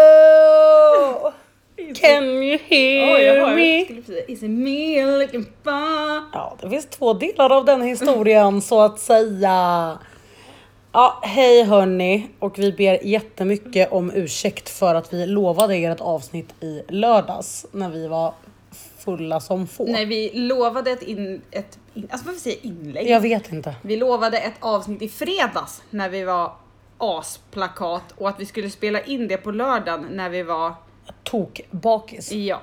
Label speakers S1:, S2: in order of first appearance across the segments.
S1: Hello! Can you
S2: Oj, jag
S1: hear
S2: hör. Jag
S1: me?
S2: skulle precis Is it me looking for?
S1: Ja, det finns två delar av den historien så att säga. Ja, hej hörni och vi ber jättemycket om ursäkt för att vi lovade er ett avsnitt i lördags när vi var fulla som få.
S2: Nej, vi lovade ett, in, ett in, alltså varför säger jag inlägg?
S1: Jag vet inte.
S2: Vi lovade ett avsnitt i fredags när vi var asplakat och att vi skulle spela in det på lördagen när vi var,
S1: Tok bakis.
S2: ja.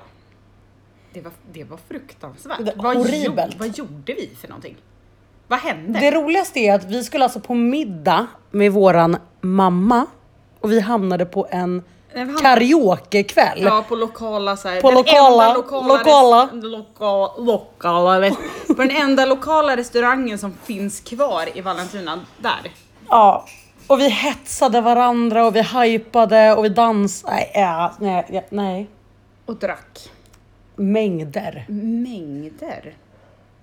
S2: Det var, det var fruktansvärt.
S1: Det var
S2: vad,
S1: horribelt.
S2: vad gjorde vi för någonting? Vad hände?
S1: Det roligaste är att vi skulle alltså på middag med våran mamma och vi hamnade på en
S2: Nej, vi hamnade-
S1: karaokekväll.
S2: Ja, på lokala så här,
S1: På
S2: den
S1: lokala-
S2: enda lokala,
S1: lokala.
S2: res- loka, lokala rest- på den enda lokala restaurangen som finns kvar i Vallentuna, där.
S1: Ja. Och vi hetsade varandra och vi hypade och vi dansade. Nej, ja, nej, ja, nej.
S2: Och drack
S1: Mängder.
S2: mängder.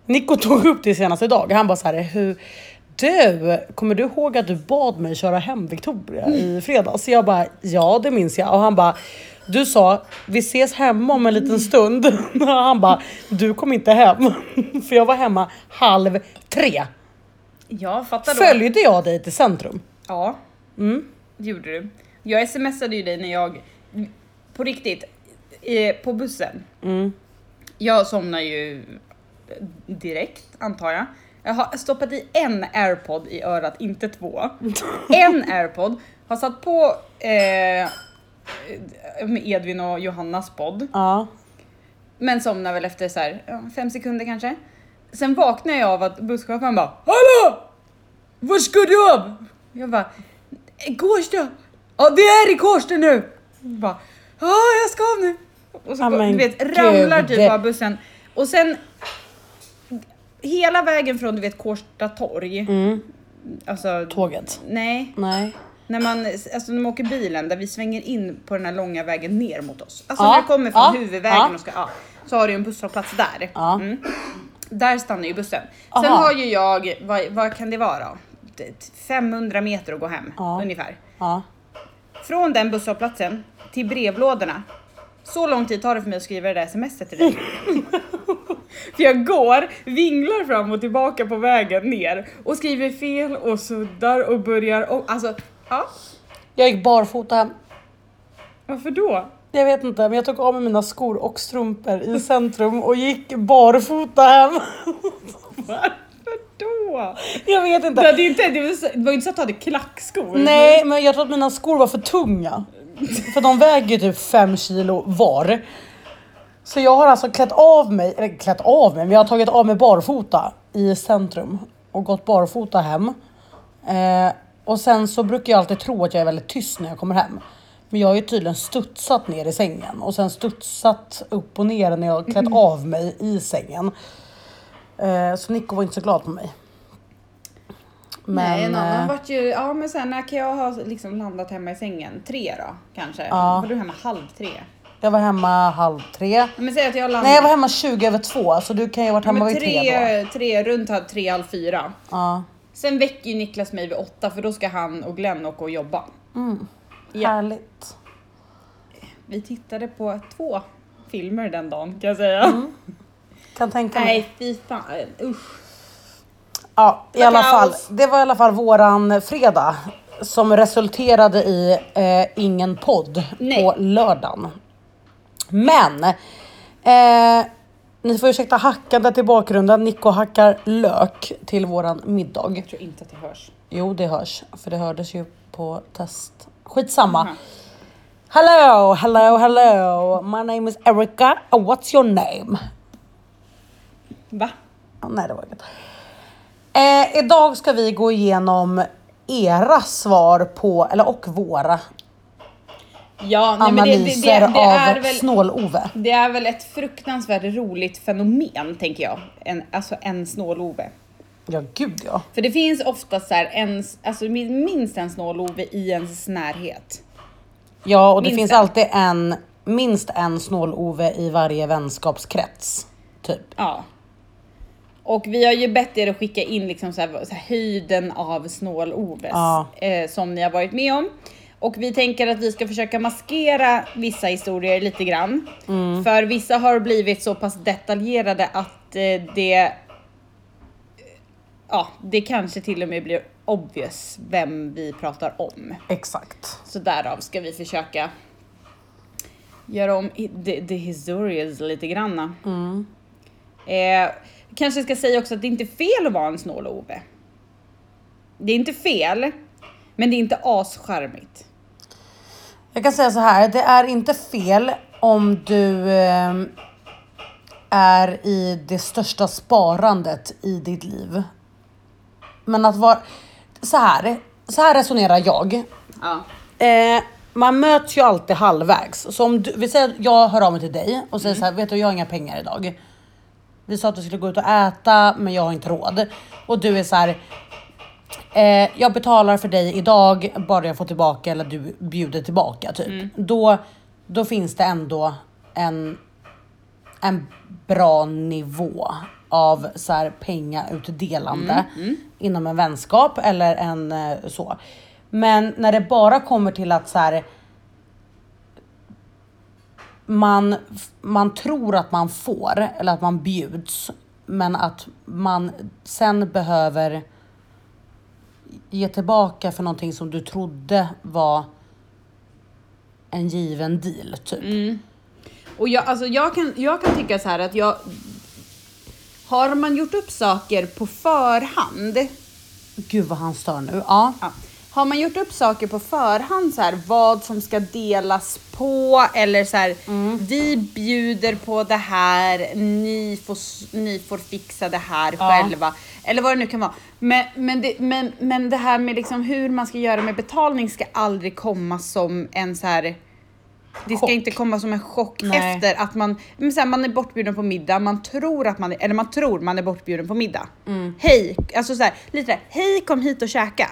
S1: Nico tog upp det senast idag. Han bara så här, hur... Du, kommer du ihåg att du bad mig köra hem Victoria i fredags? Jag bara, ja det minns jag. Och han bara, du sa, vi ses hemma om en liten stund. Och han bara, du kom inte hem. För jag var hemma halv tre.
S2: Jag fattar då.
S1: Följde jag dig till centrum?
S2: Ja, det gjorde du. Jag smsade ju dig när jag, på riktigt, eh, på bussen. Jag somnar ju direkt, antar jag. Jag har stoppat i en airpod i örat, inte två. En airpod, har satt på eh, med Edvin och Johannas podd.
S1: Ja.
S2: Men somnar väl efter så här, ja, fem sekunder kanske. Sen vaknar jag av att busschauffören bara Hallå! Var ska du av? Jag bara Kårsta! Ja det är i Kårsta nu! Jag bara Ja jag ska av nu! Och så
S1: Ja, men
S2: du vet,
S1: gud.
S2: ramlar typ av bussen. Och sen hela vägen från du vet Kårsta torg.
S1: Mm.
S2: Alltså,
S1: Tåget?
S2: nej.
S1: Nej.
S2: När man, alltså när man åker bilen där vi svänger in på den här långa vägen ner mot oss. Alltså
S1: Ja,
S2: när vi kommer från
S1: ja,
S2: huvudvägen
S1: ja.
S2: och ska, ja, så har du ju en busshållplats där.
S1: Ja.
S2: Mm. Där stannar ju bussen. Sen
S1: Aha.
S2: har ju jag, vad, vad kan det vara? Det- 500 meter att gå hem
S1: Ja.
S2: ungefär.
S1: Ja.
S2: Från den busshållplatsen till brevlådorna. Så lång tid tar det för mig att skriva det där smset till dig. för jag går, vinglar fram och tillbaka på vägen ner och skriver fel och suddar och börjar om. Alltså, ja.
S1: Jag gick barfota hem.
S2: Varför då?
S1: Jag vet inte, men jag tog av mig mina skor och strumpor i centrum och gick barfota hem.
S2: Varför då?
S1: Jag vet
S2: Det,
S1: inte.
S2: hade ju inte, det, var, så- det var ju inte så att du hade klackskor.
S1: Nej, men jag tror att mina skor var för tunga. För de väger ju typ 5 kilo var. Så jag har alltså klätt av mig, eller klätt av mig, men jag har tagit av mig barfota i centrum och gått barfota hem. Eh, och sen så brukar jag alltid tro att jag är väldigt tyst när jag kommer hem. Men jag har ju tydligen studsat ner i sängen och sen studsat upp och ner när jag har
S2: Mm.
S1: klätt av mig i sängen. Eh, så Nico var inte så glad på mig. Men,
S2: Nej, en annan
S1: eh,
S2: vart ju, ja men sen när kan jag ha liksom landat hemma i sängen? Tre då kanske?
S1: Ja.
S2: Var du hemma halv tre?
S1: Jag var hemma halv tre.
S2: Ja, Men säg att jag landade...
S1: Nej jag var hemma 20 över två så du kan ju ha varit
S2: Ja,
S1: hemma
S2: men
S1: vid tre, då.
S2: tre, tre, runt halv tre, halv fyra.
S1: Ja.
S2: Sen väcker ju Niklas mig vid åtta för då ska han och Glenn åka och jobba. Ja.
S1: Härligt.
S2: Vi tittade på två filmer den dagen kan jag säga.
S1: Mm. Kan tänka mig.
S2: Nej fy fan, usch.
S1: Ja, i alla fall.
S2: Kaos.
S1: Det var i alla fall våran fredag som resulterade i eh, ingen podd
S2: Nej.
S1: på lördagen. Men eh, ni får ursäkta hackandet i bakgrunden. Nico hackar lök till våran middag.
S2: Jag tror inte att det hörs.
S1: Jo, det hörs. För det hördes ju på test. Skitsamma. Hello, hello, hello. My name is Erica. And what's your name?
S2: Va?
S1: Ja, nej, det var inget. Eh, idag ska vi gå igenom era svar på, eller och våra,
S2: Ja, nej, men det, det, det, det
S1: analyser
S2: är
S1: av
S2: väl
S1: Snål-Ove.
S2: Det är väl ett fruktansvärt roligt fenomen tänker jag. En, alltså en snål-Ove.
S1: Ja, gud ja.
S2: För det finns ofta så här en, alltså min- minst en snål-Ove i ens närhet.
S1: Ja, och det
S2: Minst
S1: finns
S2: en.
S1: alltid en, minst en Snål-Ove i varje vänskapskrets. Typ.
S2: Ja. Och vi har ju bett er att skicka in liksom så här, så här, höjden av snål-Oves
S1: Ja.
S2: eh, som ni har varit med om. Och vi tänker att vi ska försöka maskera vissa historier lite grann. För vissa har blivit så pass detaljerade att eh, det... Ja, det kanske till och med blir obvious vem vi pratar om.
S1: Exakt.
S2: Så därav ska vi försöka göra om i- the, the historias lite granna. Mm. Eh, kanske ska säga också att det inte är fel att vara en snål Ove. Det är inte fel, men det är inte ascharmigt.
S1: Jag kan säga så här, det är inte fel om du ehm, är i det största sparandet i ditt liv. Men att vara... Så här, så här resonerar jag.
S2: Ja.
S1: Eh, man möts ju alltid halvvägs. Så om du, vi säger att jag hör av mig till dig och säger så här, vet du jag har inga pengar idag. Vi sa att vi skulle gå ut och äta men jag har inte råd. Och du är så här, eh, jag betalar för dig idag bara jag får tillbaka eller du bjuder tillbaka typ. Då, då finns det ändå en, en bra nivå av så här, pengautdelande inom en vänskap eller en eh, så. Men när det bara kommer till att så här, man, man tror att man får eller att man bjuds men att man sen behöver ge tillbaka för någonting som du trodde var en given deal typ.
S2: Och jag, alltså jag, kan, jag kan tycka så här att jag... Har man gjort upp saker på förhand
S1: Gud vad han stör nu. Ja.
S2: Ja. Har man gjort upp saker på förhand, så här, vad som ska delas på eller så här,
S1: Mm.
S2: vi bjuder på det här, ni får, s- ni får fixa det här själva. Eller vad det nu kan vara. Men, men, det, men, men det här med liksom hur man ska göra med betalning ska aldrig komma som en så här det ska
S1: Chock.
S2: inte komma som en chock
S1: Nej.
S2: efter att man, men så här, man är bortbjuden på middag, man tror att man är, eller man tror man är bortbjuden på middag.
S1: Mm.
S2: Hej, alltså så här, lite där, hej kom hit och käka.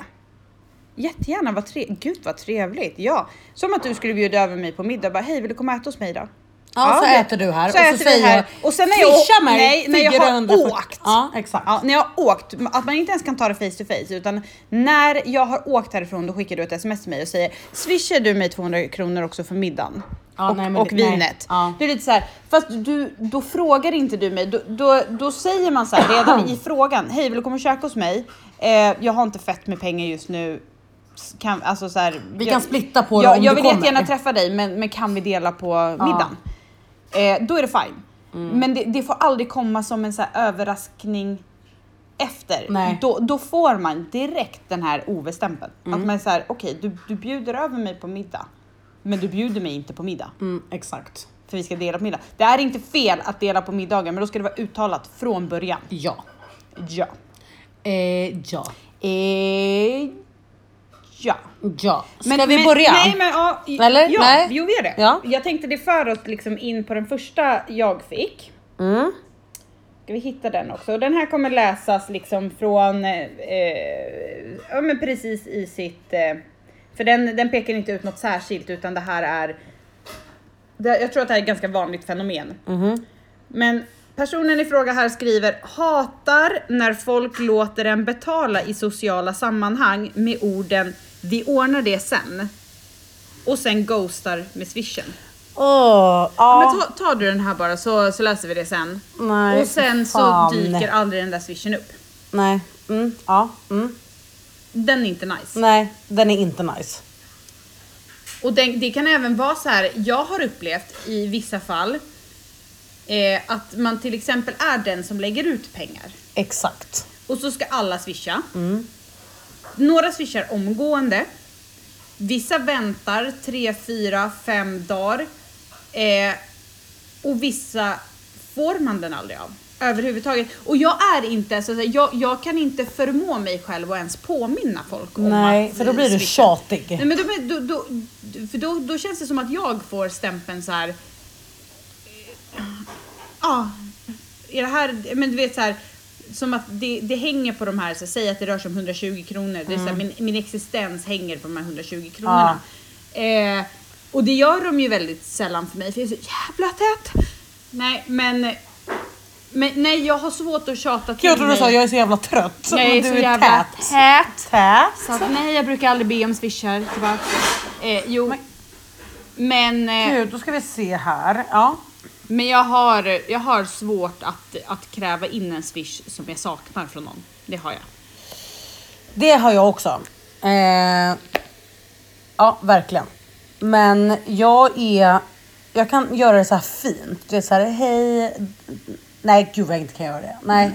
S2: Jättegärna, vad tre, gud vad trevligt, ja. Som att du skulle bjuda över mig på middag, bara hej vill du komma och äta hos mig idag?
S1: Ja, så
S2: det-
S1: äter du här
S2: så
S1: och så
S2: äter vi
S1: säger
S2: här.
S1: jag
S2: Och sen när jag-
S1: "Swisha mig
S2: nej, när jag har
S1: 440."
S2: åkt.
S1: Ja exakt.
S2: Ja, när jag har åkt, att man inte ens kan ta det face to face utan när jag har åkt härifrån då skickar du ett sms till mig och säger swishar du mig 200 kronor också för middagen?
S1: Ja,
S2: och
S1: nej, men
S2: och
S1: det- nej.
S2: vinet.
S1: Ja.
S2: Det är lite så här, fast du, då frågar inte du mig, då, då, då säger man så här redan i frågan, hej vill du komma och käka hos mig? Eh, jag har inte fett med pengar just nu. S- Kan, alltså så här,
S1: Vi
S2: jag,
S1: kan splitta på det
S2: jag,
S1: om
S2: jag
S1: du
S2: vill
S1: kommer.
S2: jättegärna träffa dig men, men kan vi dela på middagen? Eh, då är det fine.
S1: Mm.
S2: Men det, det får aldrig komma som en så här överraskning efter.
S1: Nej.
S2: Då, då får man direkt den här obestämpeln.
S1: Mm.
S2: Att man är såhär, okej du, du bjuder över mig på middag. Men du bjuder mig inte på middag.
S1: Mm, exakt.
S2: För vi ska dela på middag. Det är inte fel att dela på middagen men då ska det vara uttalat från början.
S1: Ja.
S2: Ja.
S1: Eh, ja.
S2: Eh, ja.
S1: Ja. Ska vi börja?
S2: Nej, men, ja, i-
S1: Eller?
S2: Ja,
S1: Nej.
S2: jo vi gör det.
S1: Ja.
S2: Jag tänkte det för oss liksom in på den första jag fick.
S1: Mm.
S2: Ska vi hitta den också? Och Den här kommer läsas liksom från, eh, eh, ja men precis i sitt, eh, för den, den pekar inte ut något särskilt utan det här är, det, jag tror att det här är ett ganska vanligt fenomen. Men personen i fråga här skriver, hatar när folk låter en betala i sociala sammanhang med orden vi ordnar det sen. Och sen ghostar med swishen.
S1: Åh, ja. Mm.
S2: Men ta, tar du den här bara så, så löser vi det sen.
S1: Nej,
S2: och sen
S1: fan.
S2: så dyker aldrig den där swishen upp.
S1: Nej. Mm, ja. Mm.
S2: Den är inte nice.
S1: Nej, den är inte nice.
S2: Och den, det kan även vara så här, jag har upplevt i vissa fall eh, att man till exempel är den som lägger ut pengar.
S1: Exakt.
S2: Och så ska alla swisha. Några swishar omgående. Vissa väntar 3, 4, 5 dagar. Eh, och vissa får man den aldrig av. Överhuvudtaget. Och jag är inte, så att säga, jag, jag kan inte förmå mig själv att ens påminna folk om
S1: Nej,
S2: att
S1: för då blir du
S2: swisha.
S1: tjatig.
S2: Nej, men då, blir- då, då, för då, då känns det som att jag får stämpeln så här. eh, Ja, är det här, men du vet så här. Som att det, det hänger på de här, så säg att det rör sig om 120 kronor. Det är så här,
S1: Mm.
S2: min, min existens hänger på de här 120 kronorna. Eh, och det gör de ju väldigt sällan för mig, för jag är så jävla tät. Nej, men Men nej, jag har svårt att tjata till
S1: Jag trodde du
S2: dig.
S1: sa jag är så jävla trött.
S2: jag
S1: men
S2: är
S1: du
S2: så jävla
S1: tät.
S2: tät.
S1: Tät.
S2: Så att, nej, jag brukar aldrig be om swishar. tyvärr. Eh, jo. Men, eh,
S1: Gud, då ska vi se här. Ja.
S2: men jag, har, jag har svårt att, att kräva in en swish som jag saknar från någon. Det har jag.
S1: Det har jag också. Eh, ja, verkligen. Men jag är... Jag kan göra det så här fint. Det är så här, hej... Nej, gud vad jag inte kan göra det. Nej,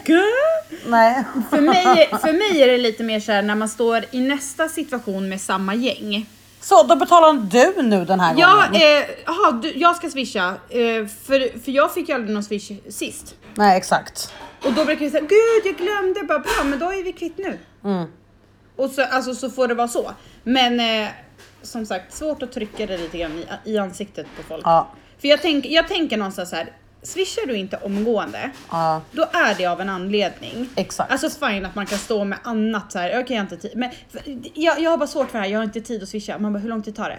S1: nej.
S2: För mig, för mig är det lite mer så här när man står i nästa situation med samma gäng.
S1: Så, då betalar du nu den här
S2: Jag,
S1: gången.
S2: eh, aha, du, jag ska swisha, eh, för, för jag fick ju aldrig någon swish sist.
S1: Nej, exakt.
S2: Och då brukar vi säga, gud jag glömde, bara bra men då är vi kvitt nu.
S1: Mm.
S2: Och så, alltså, så får det vara så. Men eh, som sagt, svårt att trycka det lite grann i, i ansiktet på folk.
S1: Ja.
S2: För jag, tänk, jag tänker någonstans så här, swishar du inte omgående,
S1: Ja.
S2: då är det av en anledning.
S1: Exakt.
S2: Alltså fine att man kan stå med annat så här, okej jag har inte tid. Men för- jag, jag har bara svårt för det här, jag har inte tid att swisha. Man bara, hur lång tid tar det?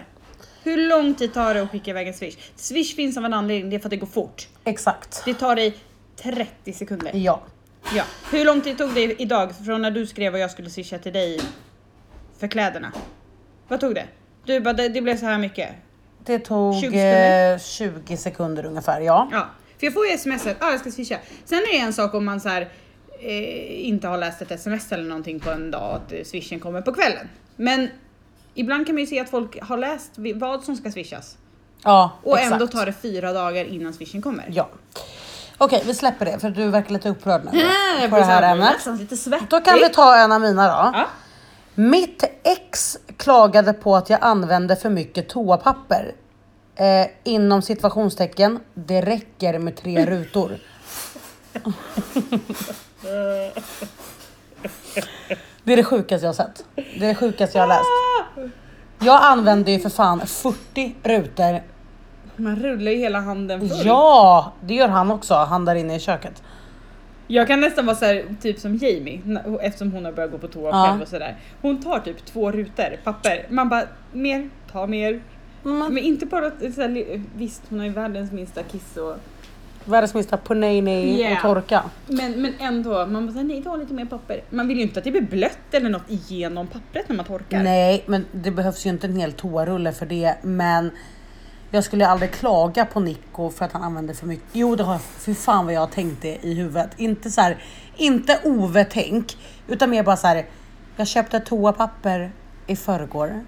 S2: Hur lång tid tar det att skicka iväg en swish? Swish finns av en anledning, det är för att det går fort.
S1: Exakt.
S2: Det tar dig 30 sekunder.
S1: Ja.
S2: Ja. Hur lång tid tog det idag från när du skrev och jag skulle swisha till dig för kläderna? Vad tog det? Du bara, det, det blev så här mycket.
S1: Det tog
S2: 20
S1: 20
S2: sekunder.
S1: sekunder, 20 sekunder ungefär, ja.
S2: Ja, för jag får ju smset, ah, jag ska swisha. Sen är det en sak om man så här, eh, inte har läst ett sms eller någonting på en dag, att eh, swishen kommer på kvällen. Men ibland kan man ju se att folk har läst vi- vad som ska swishas
S1: Ja,
S2: och
S1: exakt.
S2: ändå tar det fyra dagar innan swishen kommer.
S1: Ja. Okej, vi släpper det för du verkar lite upprörd nu
S2: Äh, jag
S1: på
S2: blir
S1: det
S2: så här,
S1: här
S2: jag blir
S1: ämnet.
S2: nästan lite svettig.
S1: Då kan vi ta en av mina då.
S2: Ja.
S1: Mitt ex klagade på att jag använde för mycket toapapper. Eh, inom situationstecken, det räcker med tre rutor. Det är det sjukaste jag har sett. Det är det sjukaste jag har läst. Jag använde ju för fan 40 rutor.
S2: Man rullar ju hela handen full.
S1: Ja, det gör han också, han där inne i köket.
S2: Jag kan nästan vara så här, typ som Jamie, na- eftersom hon har börjat gå på toa
S1: Ja.
S2: själv och sådär. Hon tar typ två rutor papper. Man bara, mer, ta mer.
S1: Mm.
S2: Men inte bara att, så här, li- visst hon har ju världens minsta kiss och...
S1: Världens minsta punani
S2: Yeah.
S1: och torka.
S2: Men, men ändå, man bara, så här, nej ta lite mer papper. Man vill ju inte att det blir blött eller något igenom pappret när man torkar.
S1: Nej, men det behövs ju inte en hel toarulle för det. Men jag skulle aldrig klaga på Nico för att han använder för mycket. Jo, det har jag. Fy fan vad jag har tänkt det i huvudet. Inte så här, inte Ove-tänk, utan mer bara så här. Jag köpte toapapper i förrgår.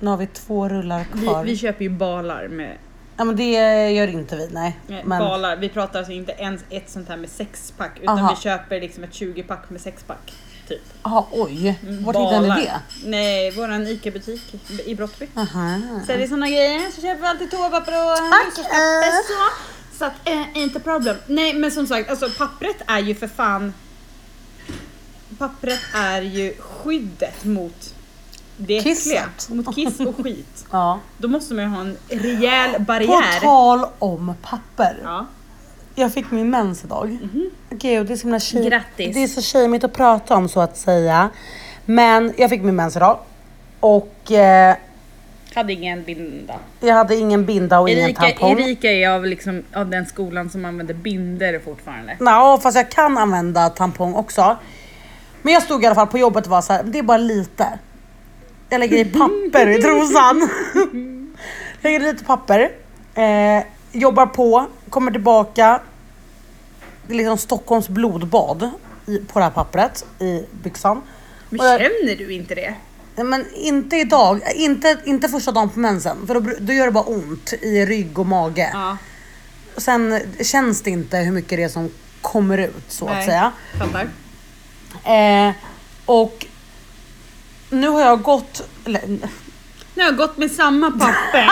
S1: Nu har vi två rullar
S2: Vi,
S1: kvar.
S2: vi köper ju balar med...
S1: Ja, men det gör inte vi, nej.
S2: med
S1: Men,
S2: Balar. Vi pratar alltså inte ens ett sånt här med sexpack utan
S1: Aha.
S2: vi köper liksom ett 20-pack med sexpack. Typ.
S1: aha, oj, vart hittade
S2: Mm, Balar.
S1: ni det?
S2: Nej, våran ICA-butik i Brottby.
S1: Aha.
S2: Säljer såna grejer, så köper vi alltid toapapper och
S1: eh.
S2: hushållspapper så. Så att, eh, inte problem. Nej men som sagt, alltså pappret är ju för fan... Pappret är ju skyddet mot det äckliga.
S1: Kisset.
S2: Mot kiss och skit.
S1: Ja.
S2: Då måste man ju ha en rejäl
S1: På
S2: barriär.
S1: tal om papper.
S2: Ja.
S1: Jag fick min mens idag. Gud, det är så himla tjej...
S2: Mhm. Grattis.
S1: Det är så tjejigt att prata om så att säga. Men jag fick min mens idag. Och eh,
S2: Hade ingen binda.
S1: jag hade ingen binda och ingen
S2: Erika,
S1: tampong.
S2: Erika är av, liksom, av den skolan som använder binder fortfarande.
S1: Ja, fast jag kan använda tampong också. Men jag stod i alla fall på jobbet och var så här, det är bara lite. Jag lägger i papper i trosan. lägger i lite papper. Eh, jobbar på, kommer tillbaka. Det är liksom Stockholms blodbad i, på det här pappret i byxan.
S2: Men
S1: Och jag-
S2: känner du inte det?
S1: Nej, Men inte idag, Eh, inte, inte första dagen på mensen för då, br- då gör det bara ont i rygg och mage.
S2: Ja,
S1: Och Sen känns det inte hur mycket det är som kommer ut så att säga.
S2: Fattar.
S1: Eh, och nu har jag gått, eller,
S2: Nu har jag gått med samma papper.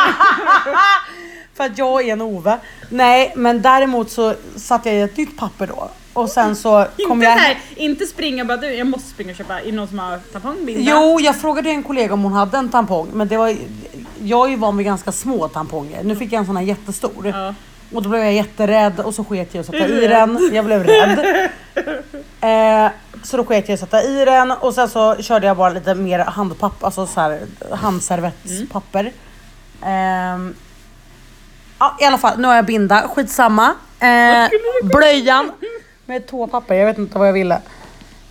S1: för att jag är en Ove. Nej men däremot så satte jag i ett nytt papper då och sen så kom
S2: inte,
S1: jag...
S2: så här, inte springa bara du, jag måste springa och köpa. Är det någon som har tampong? Binda?
S1: Jo, jag frågade en kollega om hon hade en tampong, men det var, jag är ju van vid ganska små tamponger. Nu fick jag en sån här jättestor.
S2: Ja.
S1: Och då blev jag jätterädd och så sket jag att sätta
S2: Är du
S1: i
S2: rädd?
S1: den. Jag blev rädd. Eh, så då sket jag att sätta i den och sen så körde jag bara lite mer handpapper, alltså så här handservettspapper. Ehm, ja, I alla fall, nu har jag binda, skitsamma. Eh, blöjan, Med toapapper, jag vet inte vad jag ville.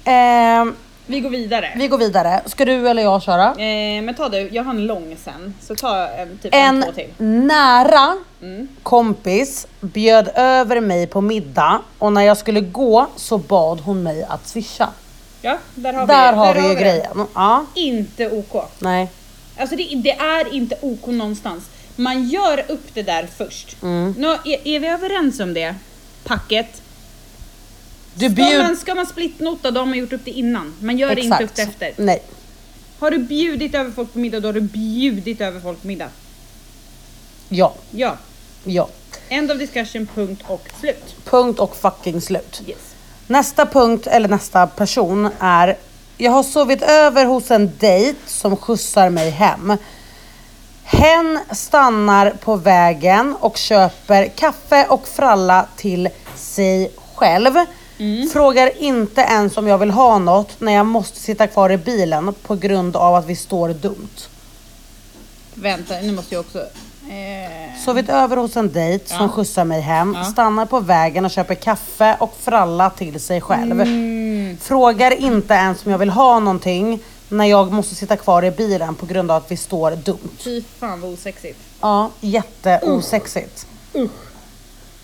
S1: Ehm,
S2: Vi går vidare.
S1: vi går vidare. Ska du eller jag köra?
S2: Eh, men ta du, jag har en lång sen. Så ta en, typ en,
S1: En
S2: två till.
S1: nära
S2: Mm.
S1: kompis bjöd över mig på middag och när jag skulle gå så bad hon mig att swisha.
S2: Ja, där har
S1: Där
S2: vi,
S1: har vi ju
S2: det.
S1: grejen. Ja,
S2: Inte OK.
S1: nej.
S2: Alltså det, det är inte OK någonstans. Man gör upp det där först.
S1: Mm.
S2: Nu, är, är vi överens om det? Packet.
S1: Du
S2: Ska
S1: bjud...
S2: man, ska man splitnotta då har man gjort upp det innan. Man gör inte upp det efter.
S1: Nej.
S2: Har du bjudit över folk på middag då har du bjudit över folk på middag.
S1: Ja.
S2: Ja.
S1: Ja.
S2: End of discussion, punkt och slut.
S1: Punkt och fucking slut.
S2: Yes.
S1: Nästa punkt, eller nästa person är Jag har sovit över hos en dejt som skjutsar mig hem. Hen stannar på vägen och köper kaffe och fralla till sig själv. Frågar inte ens om jag vill ha något när jag måste sitta kvar i bilen på grund av att vi står dumt.
S2: Vänta, nu måste jag också... Eh,
S1: Sovit över hos en dejt som
S2: Ja.
S1: skjutsar mig hem.
S2: Ja.
S1: Stannar på vägen och köper kaffe och fralla till sig själv.
S2: mm,
S1: Frågar inte ens om jag vill ha någonting när jag måste sitta kvar i bilen på grund av att vi står dumt.
S2: fy fan vad osexigt.
S1: Ja, jätteosexigt.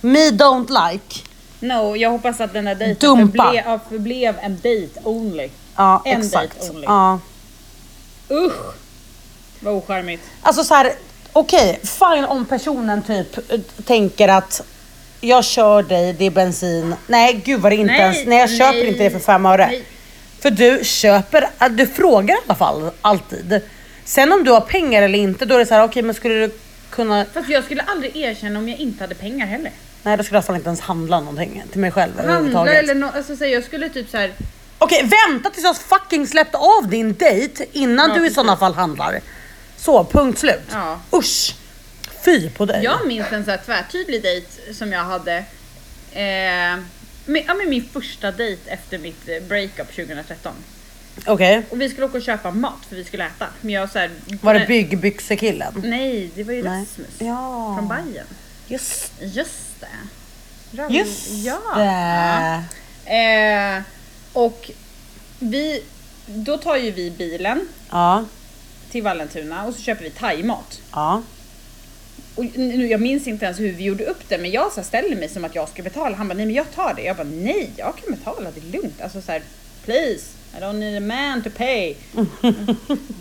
S1: Me don't like.
S2: No, jag hoppas att den där dejten
S1: Dumpa.
S2: förble, ja, förblev en dejt only.
S1: Ja,
S2: En
S1: exakt.
S2: date only.
S1: Ja.
S2: Usch! Vad ocharmigt.
S1: Alltså så här, okej, fine om personen typ eh, tänker att jag kör dig, det är bensin. Nej, gud vad det inte
S2: Nej,
S1: ens, nej jag köper
S2: nej,
S1: inte det för fem öre.
S2: nej.
S1: För du köper, äh, du frågar i alla fall alltid. Sen om du har pengar eller inte, då är det så här, okej men skulle du kunna,
S2: Fast jag skulle aldrig erkänna om jag inte hade pengar heller.
S1: nej då skulle jag fan inte ens handla någonting till mig själv
S2: Handla
S1: överhuvudtaget.
S2: eller något, alltså säg, jag skulle typ så här.
S1: Okej, vänta tills jag fucking släppt av din dejt innan
S2: Ja,
S1: du i
S2: precis.
S1: sådana fall handlar. Så, punkt slut.
S2: ja.
S1: Usch! Fy på dig.
S2: Jag minns en så här tvärtydlig dejt som jag hade. Eh, med, ja, med min första dejt efter mitt eh, breakup 2013.
S1: Okej.
S2: Och vi skulle åka och köpa mat för vi skulle äta. Men jag så här,
S1: Var det byggbyxekillen?
S2: Eh, Nej, det var ju
S1: Nej.
S2: Rasmus.
S1: Ja.
S2: Från Bayern.
S1: Just,
S2: Just det. Ram-
S1: just
S2: ja.
S1: det.
S2: Eh, och vi, då tar ju vi bilen
S1: Ja,
S2: till Vallentuna och så köper vi thaimat.
S1: ja.
S2: Och nu, jag minns inte ens hur vi gjorde upp det men jag så här ställer mig som att jag ska betala. Han bara nej men jag tar det. Jag bara nej jag kan betala det är lugnt. Alltså så här, please I don't need a man to pay. oh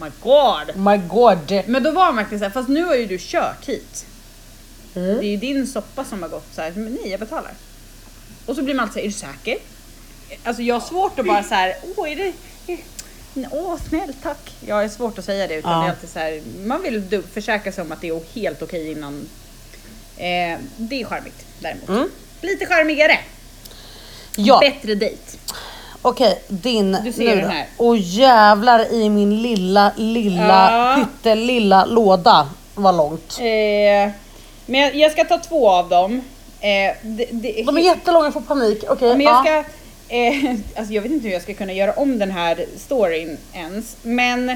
S2: my god.
S1: My god.
S2: Men då var han verkligen såhär, fast nu har ju du kört hit.
S1: Mm.
S2: Det är ju din soppa som har gått så här, men nej jag betalar. Och så blir man alltid såhär, är du säker? Alltså jag har svårt att bara så här, åh är det... är- Åh snäll tack. Jag har svårt att säga det utan
S1: Ja.
S2: det är alltid så här, man vill du- försäkra sig om att det är helt okej innan. Eh, det är charmigt däremot. Lite charmigare.
S1: Mm. Ja,
S2: Bättre dejt.
S1: okej. Din.
S2: Du ser
S1: då.
S2: den här.
S1: Och jävlar i min lilla, lilla,
S2: Ja.
S1: pyttelilla låda. Vad långt.
S2: Eh, men jag, jag ska ta två av dem. Eh, det, det,
S1: De är jättelånga, jag får panik. Okej.
S2: Men jag
S1: ja.
S2: ska... Eh, alltså jag vet inte hur jag ska kunna göra om den här storyn ens. Men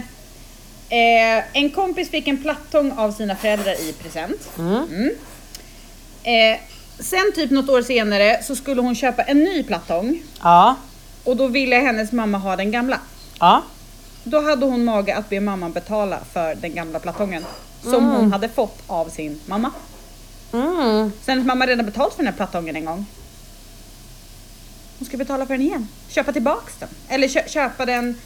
S2: eh, en kompis fick en plattång av sina föräldrar i present. Mm. Eh, sen typ något år senare så skulle hon köpa en ny plattång
S1: ja.
S2: och då ville hennes mamma ha den gamla.
S1: Ja.
S2: Då hade hon mage att be mamman betala för den gamla plattången som hon hade fått av sin mamma.
S1: Mm.
S2: Sen att mamma redan betalt för den här plattången en gång. Hon ska betala för den igen. Köpa tillbaks den. Eller kö- köpa den...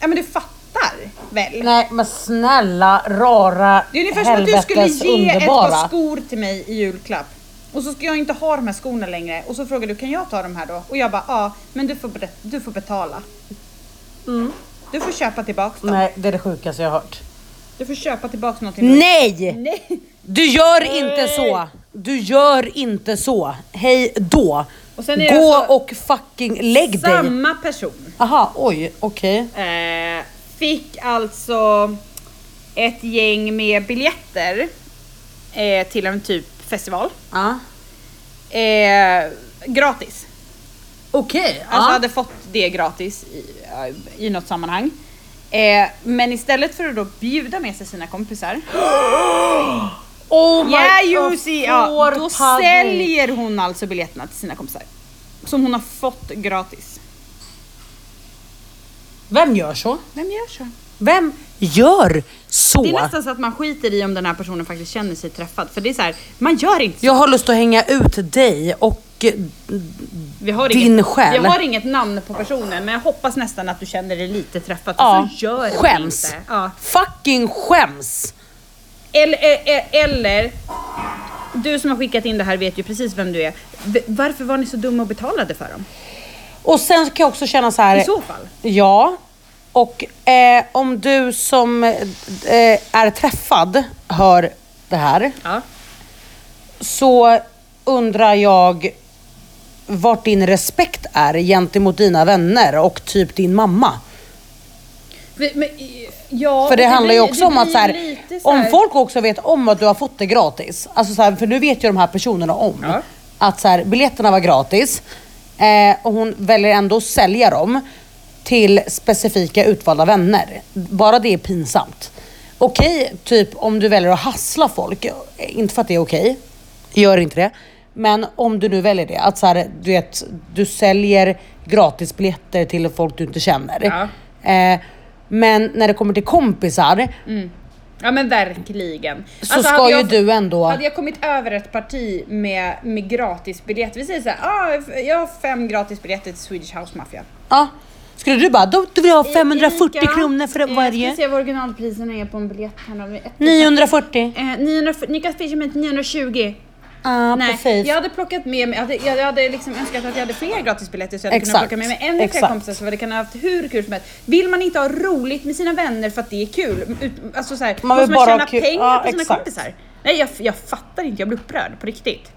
S2: Ja men du fattar väl?
S1: Nej men snälla rara
S2: Det är ungefär som att du
S1: helvetes
S2: skulle ge
S1: underbara.
S2: ett par skor till mig i julklapp. Och så ska jag inte ha de här skorna längre. Och så frågar du, kan jag ta de här då? Och jag bara, ja, men du får, bet- du får betala. Du får köpa tillbaks dem.
S1: Mm. Nej det är det sjukaste jag har hört.
S2: Du får köpa tillbaks någonting.
S1: Nej!
S2: Nej!
S1: Du gör inte så! Du gör inte så! Hej då!
S2: Och sen är det
S1: Gå
S2: alltså-
S1: och fucking lägg dig!
S2: Samma person.
S1: Aha, oj, okej.
S2: eh, fick alltså ett gäng med biljetter eh, till en typ festival.
S1: Ja.
S2: Eh, gratis.
S1: Okej,
S2: Alltså
S1: ja.
S2: hade fått det gratis i, i något sammanhang. Eh, men istället för att då bjuda med sig sina kompisar.
S1: Oh my
S2: Yeah
S1: jag
S2: you see!
S1: får
S2: Ja, då
S1: panik.
S2: säljer hon alltså biljetterna till sina kompisar. Som hon har fått gratis.
S1: Vem gör så?
S2: Vem gör så?
S1: Vem gör så?
S2: Det är nästan så att man skiter i om den här personen faktiskt känner sig träffad. För det är så här, man gör inte så.
S1: Jag har lust att hänga ut dig och eh,
S2: Vi har
S1: Din
S2: inget,
S1: själ.
S2: Jag har inget namn på personen men jag hoppas nästan att du känner dig lite träffad. För
S1: ja,
S2: så Alltså, gör man
S1: skäms.
S2: Inte. Ja.
S1: Fucking skäms!
S2: Eller, eller, eller, du som har skickat in det här vet ju precis vem du är. V- Varför var ni så dumma och betalade för dem?
S1: Och sen kan jag också känna så här.
S2: I så fall.
S1: Ja. Och eh, om du som eh, är träffad hör det här
S2: Ja.
S1: så undrar jag vart din respekt är gentemot dina vänner och typ din mamma.
S2: Vi- Men, i- ja
S1: För det,
S2: och
S1: handlar ju
S2: blir-
S1: också
S2: det
S1: om att
S2: blir
S1: så här,
S2: lite så
S1: om
S2: här-
S1: folk också vet om att du har fått det gratis. Alltså så här, för nu vet ju de här personerna om
S2: Ja.
S1: att så här, biljetterna var gratis eh, och hon väljer ändå att sälja dem till specifika utvalda vänner. Bara det är pinsamt. Okej, typ om du väljer att hassla folk, eh, inte för att det är okej, gör inte det. Men om du nu väljer det, att så här, du vet, du säljer gratisbiljetter till folk du inte känner.
S2: Ja.
S1: Eh, men när det kommer till kompisar
S2: Mm. Ja men verkligen.
S1: så
S2: Alltså,
S1: ska
S2: hade
S1: ju
S2: jag-
S1: du ändå...
S2: Hade jag kommit över ett parti med, med gratisbiljett, vi säger såhär, ah, jag har fem gratisbiljetter till Swedish House Mafia.
S1: Ja. Skulle du bara, då, du vill ha
S2: I-
S1: 540
S2: Ica,
S1: kronor för
S2: eh, Jag
S1: varje?
S2: ska se vad originalpriserna är på en biljett här. då. Ett-
S1: 940.
S2: Eh, 900, ni kan swisha mig till 920.
S1: Ja, precis.
S2: jag hade plockat med mig, jag hade, jag hade liksom önskat att jag hade fler gratisbiljetter så jag hade
S1: Exakt.
S2: kunnat plocka med mig ännu fler
S1: Exakt.
S2: kompisar så vi hade kunnat haft hur kul som helst. Vill man inte ha roligt med sina vänner för att det är kul, ut- alltså så här,
S1: Man
S2: man
S1: vill
S2: måste
S1: bara
S2: man
S1: ha
S2: tjäna
S1: kul.
S2: pengar
S1: Ja,
S2: på sina
S1: exakt.
S2: kompisar? Nej jag, jag fattar inte, jag blir upprörd på riktigt.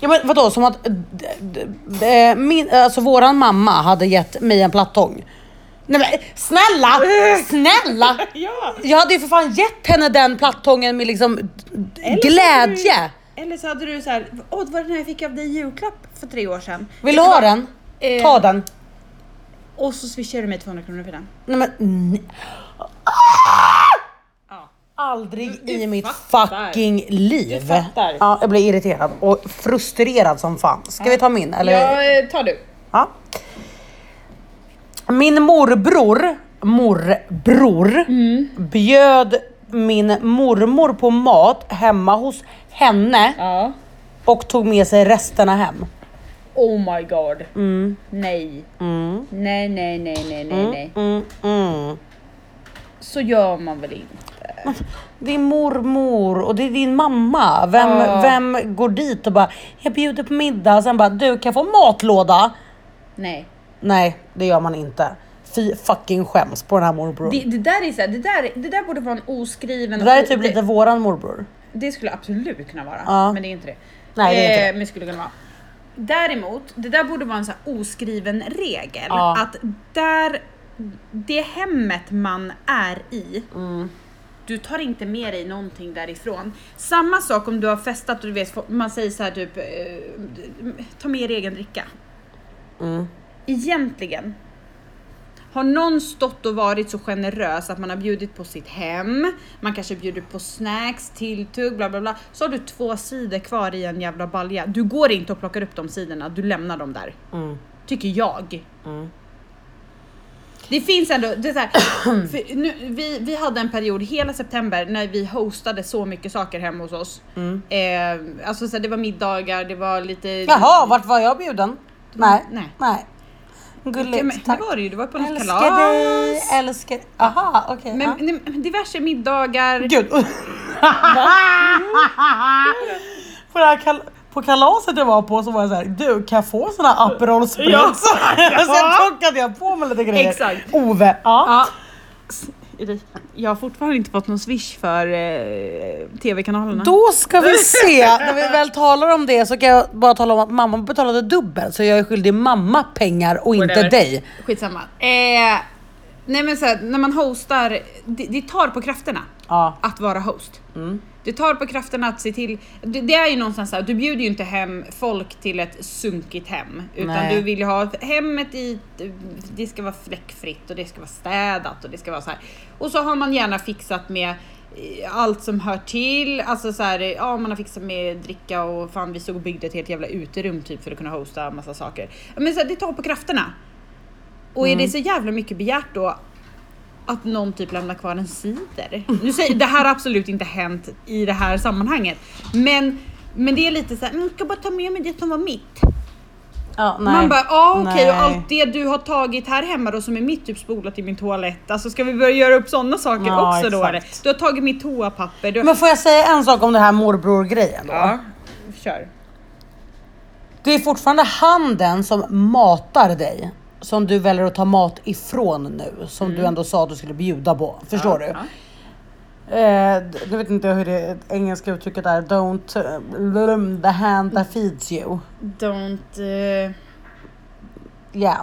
S1: Ja men vadå, som att d- d- d- min, alltså våran mamma hade gett mig en plattång. Nej men snälla,
S2: Eh.
S1: snälla!
S2: Ja.
S1: Jag hade ju för fan gett henne den plattången med liksom d- glädje.
S2: Eller så hade du så här, åh det var den här jag fick av dig i julklapp för tre år sedan.
S1: Vill du ha den?
S2: Eh.
S1: Ta den.
S2: Och så swishade du mig 200 kronor för den.
S1: Nej men nej.
S2: Ja.
S1: Aldrig
S2: Du- du
S1: i mitt
S2: fattar.
S1: fucking liv.
S2: Du fattar.
S1: Ja, jag blir irriterad och frustrerad som fan. Ska vi ta min eller?
S2: Ja, eh, ta du.
S1: Ja. Min morbror, morbror,
S2: Mm.
S1: bjöd min mormor på mat hemma hos henne
S2: Ja.
S1: och tog med sig resterna hem.
S2: Oh my god. Nej. Nej, nej, nej, nej, nej, nej.
S1: Mm, mm.
S2: Så gör man väl inte?
S1: Det är mormor och det är din mamma. Vem,
S2: Ja.
S1: vem går dit och bara, jag bjuder på middag, sen bara, du kan jag få matlåda?
S2: Nej.
S1: Nej, det gör man inte. Fy fucking skäms på den här morbror.
S2: Det,
S1: Det,
S2: det där är så här, det där, det där borde vara en oskriven...
S1: där är typ
S2: det,
S1: lite våran morbror.
S2: det skulle absolut kunna vara,
S1: Ja.
S2: men det är inte det.
S1: Nej, det är inte
S2: eh, men det skulle kunna vara. Däremot, det där borde vara en så här oskriven regel.
S1: Ja.
S2: Att där, det hemmet man är i,
S1: Mm.
S2: du tar inte med dig någonting därifrån. Samma sak om du har festat och du vet, man säger så här typ, eh, ta med er egen dricka.
S1: Mm.
S2: Egentligen, har någon stått och varit så generös att man har bjudit på sitt hem, man kanske bjuder på snacks, tilltugg, bla bla bla. Så har du två sidor kvar i en jävla balja. Du går inte och plockar upp de sidorna, du lämnar dem där.
S1: Mm.
S2: Tycker jag. Det finns ändå, det är så här, för nu, vi, vi hade en period hela september när vi hostade så mycket saker hemma hos oss.
S1: Mm.
S2: Eh, alltså så här, det var middagar, det var lite...
S1: Jaha, vart var jag bjuden? Nej.
S2: Nej.
S1: Nej.
S2: Ja, men,
S1: Gulligt,
S2: det
S1: tack.
S2: var det ju, du var på något
S1: Älskar dig, älskar Aha, okej.
S2: Men,
S1: ja.
S2: nej, men diverse middagar.
S1: Gud. på, det här kal- på kalaset jag var på så var jag såhär, du kan jag få såna Aperol Spritz?
S2: Ja.
S1: Sen plockade jag på mig lite grejer.
S2: Exakt.
S1: Ove, ja.
S2: Ja. Erika, jag har fortfarande inte fått någon swish för eh, tv-kanalerna.
S1: Då ska vi se, när vi väl talar om det så kan jag bara tala om att mamma betalade dubbelt så jag är skyldig mamma pengar och inte
S2: Whatever.
S1: dig.
S2: Skitsamma. Eh, nej men så här, när man hostar, det, det tar på krafterna
S1: Ja.
S2: att vara host. Det tar på krafterna att se till, det, det är ju någonstans så här, du bjuder ju inte hem folk till ett sunkigt hem. Utan
S1: Nej.
S2: du vill ju ha hemmet i, det ska vara fläckfritt och det ska vara städat och det ska vara så här. Och så har man gärna fixat med eh, allt som hör till. Alltså så här, eh, ja man har fixat med dricka och fan vi stod och byggde ett helt jävla uterum typ för att kunna hosta massa saker. Men så här, det tar på krafterna. Och är det så jävla mycket begärt då att någon typ lämnar kvar en cider? Nu säger, det här har absolut inte hänt i det här sammanhanget. Men, men det är lite så här, "Mm, jag ska bara ta med mig det som var mitt.
S1: Ja, nej.
S2: Man bara, ja okej
S1: Nej.
S2: och allt det du har tagit här hemma då som är mitt, typ spolat i min toalett. Alltså ska vi börja göra upp sådana saker
S1: Ja,
S2: också då
S1: exakt.
S2: eller? Du har tagit mitt toapapper. Du...
S1: Men får jag säga en sak om det här morbror-grejen då?
S2: Ja, kör.
S1: Det är fortfarande handen som matar dig som du väljer att ta mat ifrån nu som du ändå sa att du skulle bjuda på. Förstår
S2: Ja,
S1: du?
S2: ja.
S1: Eh, d- nu vet inte jag hur det engelska uttrycket är. Don't eh, blum, the hand that feeds you.
S2: Don't... Uh...
S1: Yeah.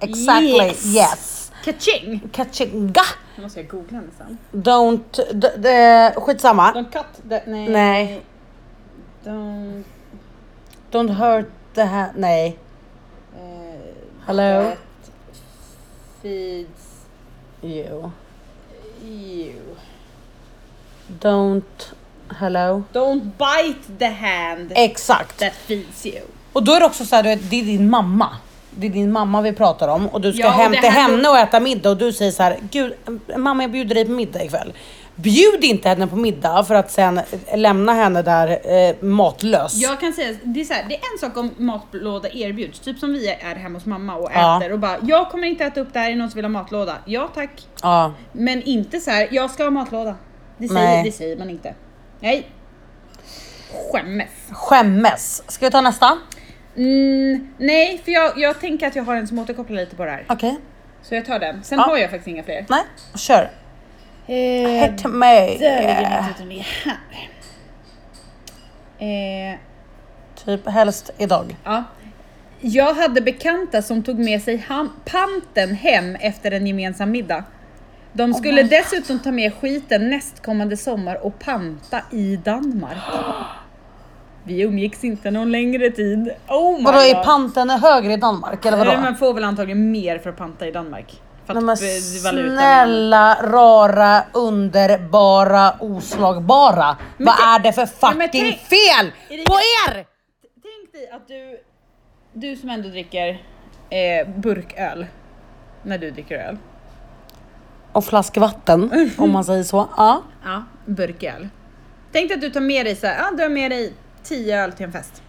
S1: Exactly.
S2: Yes.
S1: Yes.
S2: Kaching!
S1: Kachinga.
S2: Nu måste jag googla nästan.
S1: Don't... D- d- skitsamma.
S2: Don't cut the... Nej.
S1: Nej.
S2: Don't...
S1: Don't hurt the hand... Nej.
S2: eh,
S1: Hello?
S2: that feeds
S1: You.
S2: you.
S1: Don't... Hello.
S2: Don't bite the hand
S1: Eh. Exakt.
S2: that feeds you.
S1: Och då är det också så här, du vet, det är din mamma. Det är din mamma vi pratar om och du ska
S2: Ja, och
S1: hem
S2: det
S1: till
S2: här-
S1: henne och äta middag och du säger så här, gud mamma jag bjuder dig på middag ikväll. Bjud inte henne på middag för att sen lämna henne där eh, matlös.
S2: Jag kan säga, det är, så här, det är en sak om matlåda erbjuds, typ som vi är hemma hos mamma och
S1: Ja.
S2: äter och bara jag kommer inte äta upp det här, är det någon som vill ha matlåda? Ja tack.
S1: Ja.
S2: Men inte så här, jag ska ha matlåda. Det säger,
S1: Nej.
S2: det säger man inte. Nej. Skämmes.
S1: Skämmes. Ska vi ta nästa?
S2: Mm, nej, för jag, jag tänker att jag har en som återkopplar lite på det här.
S1: Okej.
S2: Så jag tar den. Sen
S1: Ja.
S2: har jag faktiskt inga fler.
S1: Nej, kör.
S2: Eh,
S1: Hett mig.
S2: där ligger mitt utan det här. Eh,
S1: Typ helst idag.
S2: Ja. Jag hade bekanta som tog med sig ham- panten hem efter en gemensam middag. De skulle dessutom ta med skiten nästkommande sommar och panta i Danmark. Vi umgicks inte någon längre tid. Oh my
S1: Vadå är
S2: god.
S1: panten högre i Danmark eller vadå?
S2: Nej, Man får väl antagligen mer för att panta i Danmark. För
S1: Nej,
S2: att
S1: men
S2: eh, valutan-
S1: snälla, rara, underbara, oslagbara. Vad
S2: tänk-
S1: är det för
S2: Nej, men
S1: fucking
S2: tänk-
S1: fel
S2: Är det-
S1: på er?
S2: Tänk dig att du, du som ändå dricker eh, burköl, när du dricker öl.
S1: Och
S2: Mm.
S1: flaskvatten, om man säger så. Ja.
S2: Ja, burköl. Tänk dig att du tar med dig så här, ja, du har med dig 10 öl till en fest.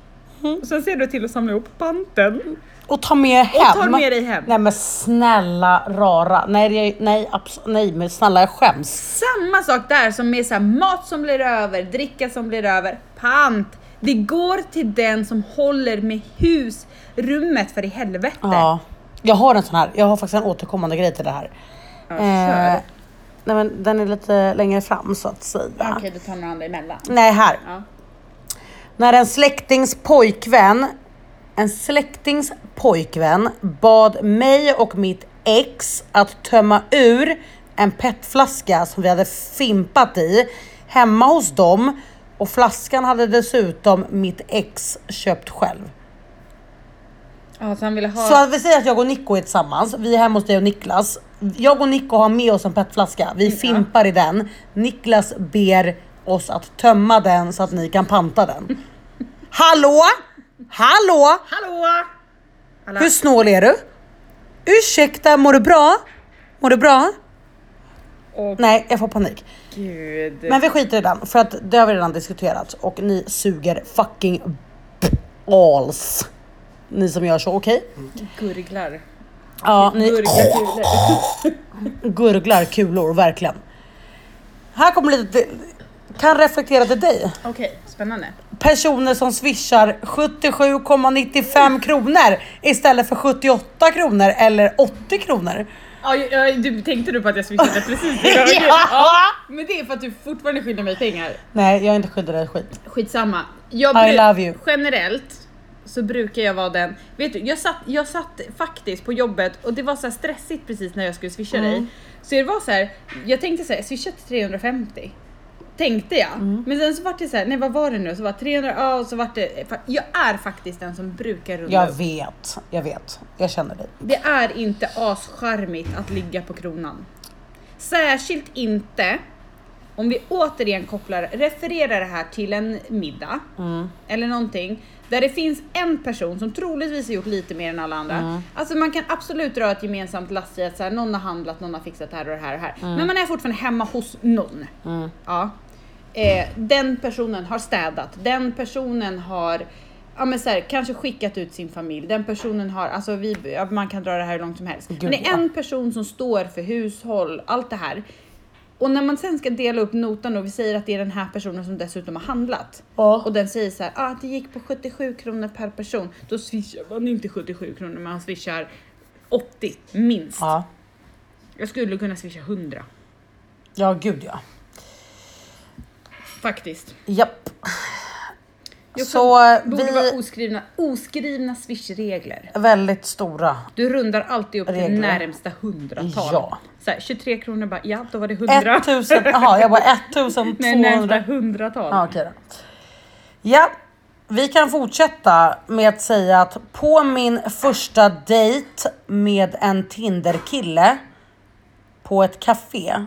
S2: Och sen ser du till att samla ihop panten.
S1: Och ta med hem.
S2: tar med dig hem.
S1: Nej men snälla rara. Nej, det- nej, abs- nej men snälla jag skäms.
S2: Samma sak där som med så här, mat som blir över, dricka som blir över, pant. Det går till den som håller med husrummet för i helvete.
S1: Ja. Jag har en sån här, jag har faktiskt en återkommande grej till det här.
S2: Ja, kör.
S1: Eh, nej men den är lite längre fram så att säga.
S2: Okej, du tar några andra emellan.
S1: Nej här.
S2: Ja.
S1: När en släktings pojkvän, en släktings pojkvän bad mig och mitt ex att tömma ur en petflaska som vi hade fimpat i hemma hos dem och flaskan hade dessutom mitt ex köpt själv.
S2: ja, så han ville ha...
S1: Så att vi säger att jag och Nico är tillsammans, vi är hemma hos dig och Niklas. Jag och Nico har med oss en petflaska, vi fimpar i den. Niklas ber oss att tömma den så att ni kan panta den. Hallå? Hallå?
S2: Hallå! Alla...
S1: Hur snål är du? Ursäkta, mår du bra? Mår du bra?
S2: Åh
S1: Nej, jag får panik.
S2: gud.
S1: Men vi skiter i den för att det har vi redan diskuterat och ni suger fucking alls. Ni som gör så, okej?
S2: Gurglar.
S1: Ja, ni
S2: Gurglar kulor.
S1: gurglar kulor, verkligen. Här kommer lite, kan reflektera till dig.
S2: Okej, spännande.
S1: Personer som swishar 77,95 kronor istället för 78 kronor eller 80 kronor.
S2: Ja, ja, du, tänkte du på att jag swishade precis idag?
S1: Ja.
S2: Men det är för att du fortfarande skyller mig pengar.
S1: Nej, jag är inte skyldig dig skit.
S2: Skitsamma. Jag
S1: I love you.
S2: Generellt så brukar jag vara den, vet du jag satt, jag satt faktiskt på jobbet och det var så här stressigt precis när jag skulle swisha dig.
S1: Mm.
S2: Så det var så här, jag tänkte så här, swisha till 350. Tänkte jag.
S1: Mm.
S2: Men sen så vart det så här, nej vad var det nu? Så var det 300, ja och så vart det, jag är faktiskt den som brukar runda
S1: Jag
S2: upp.
S1: vet, jag vet. Jag känner dig.
S2: Det är inte ascharmigt att ligga på kronan. Särskilt inte om vi återigen kopplar, refererar det här till en middag
S1: Mm.
S2: eller någonting där det finns en person som troligtvis har gjort lite mer än alla andra.
S1: Mm.
S2: Alltså man kan absolut dra ett gemensamt lass i att så här, någon har handlat, någon har fixat det här och det här och det här.
S1: Mm.
S2: Men man är fortfarande hemma hos någon. Ja. Eh, den personen har städat, den personen har Ja men så här, kanske skickat ut sin familj, den personen har, alltså vi, ja, man kan dra det här hur långt som helst.
S1: Gud,
S2: men det är
S1: ja.
S2: en person som står för hushåll, allt det här. Och när man sen ska dela upp notan och vi säger att det är den här personen som dessutom har handlat.
S1: Ja.
S2: Och den säger så här, ah, det gick på 77 kronor per person. Då swishar man inte 77 kronor, man swishar 80 minst.
S1: Ja.
S2: Jag skulle kunna swisha 100
S1: ja, gud ja.
S2: faktiskt.
S1: Japp.
S2: Jag
S1: Så eh,
S2: borde vara
S1: vi
S2: oskrivna, oskrivna swishregler.
S1: är väldigt stora.
S2: Du rundar alltid upp till
S1: Regler.
S2: närmsta hundratal.
S1: Ja.
S2: Så här, 23 kronor bara, ja då var det 100.
S1: 1000, jaha jag bara 1200.
S2: Nej, närmsta hundratal.
S1: Ja, okej då. Ja, vi kan fortsätta med att säga att på min första dejt med en Tinderkille på ett café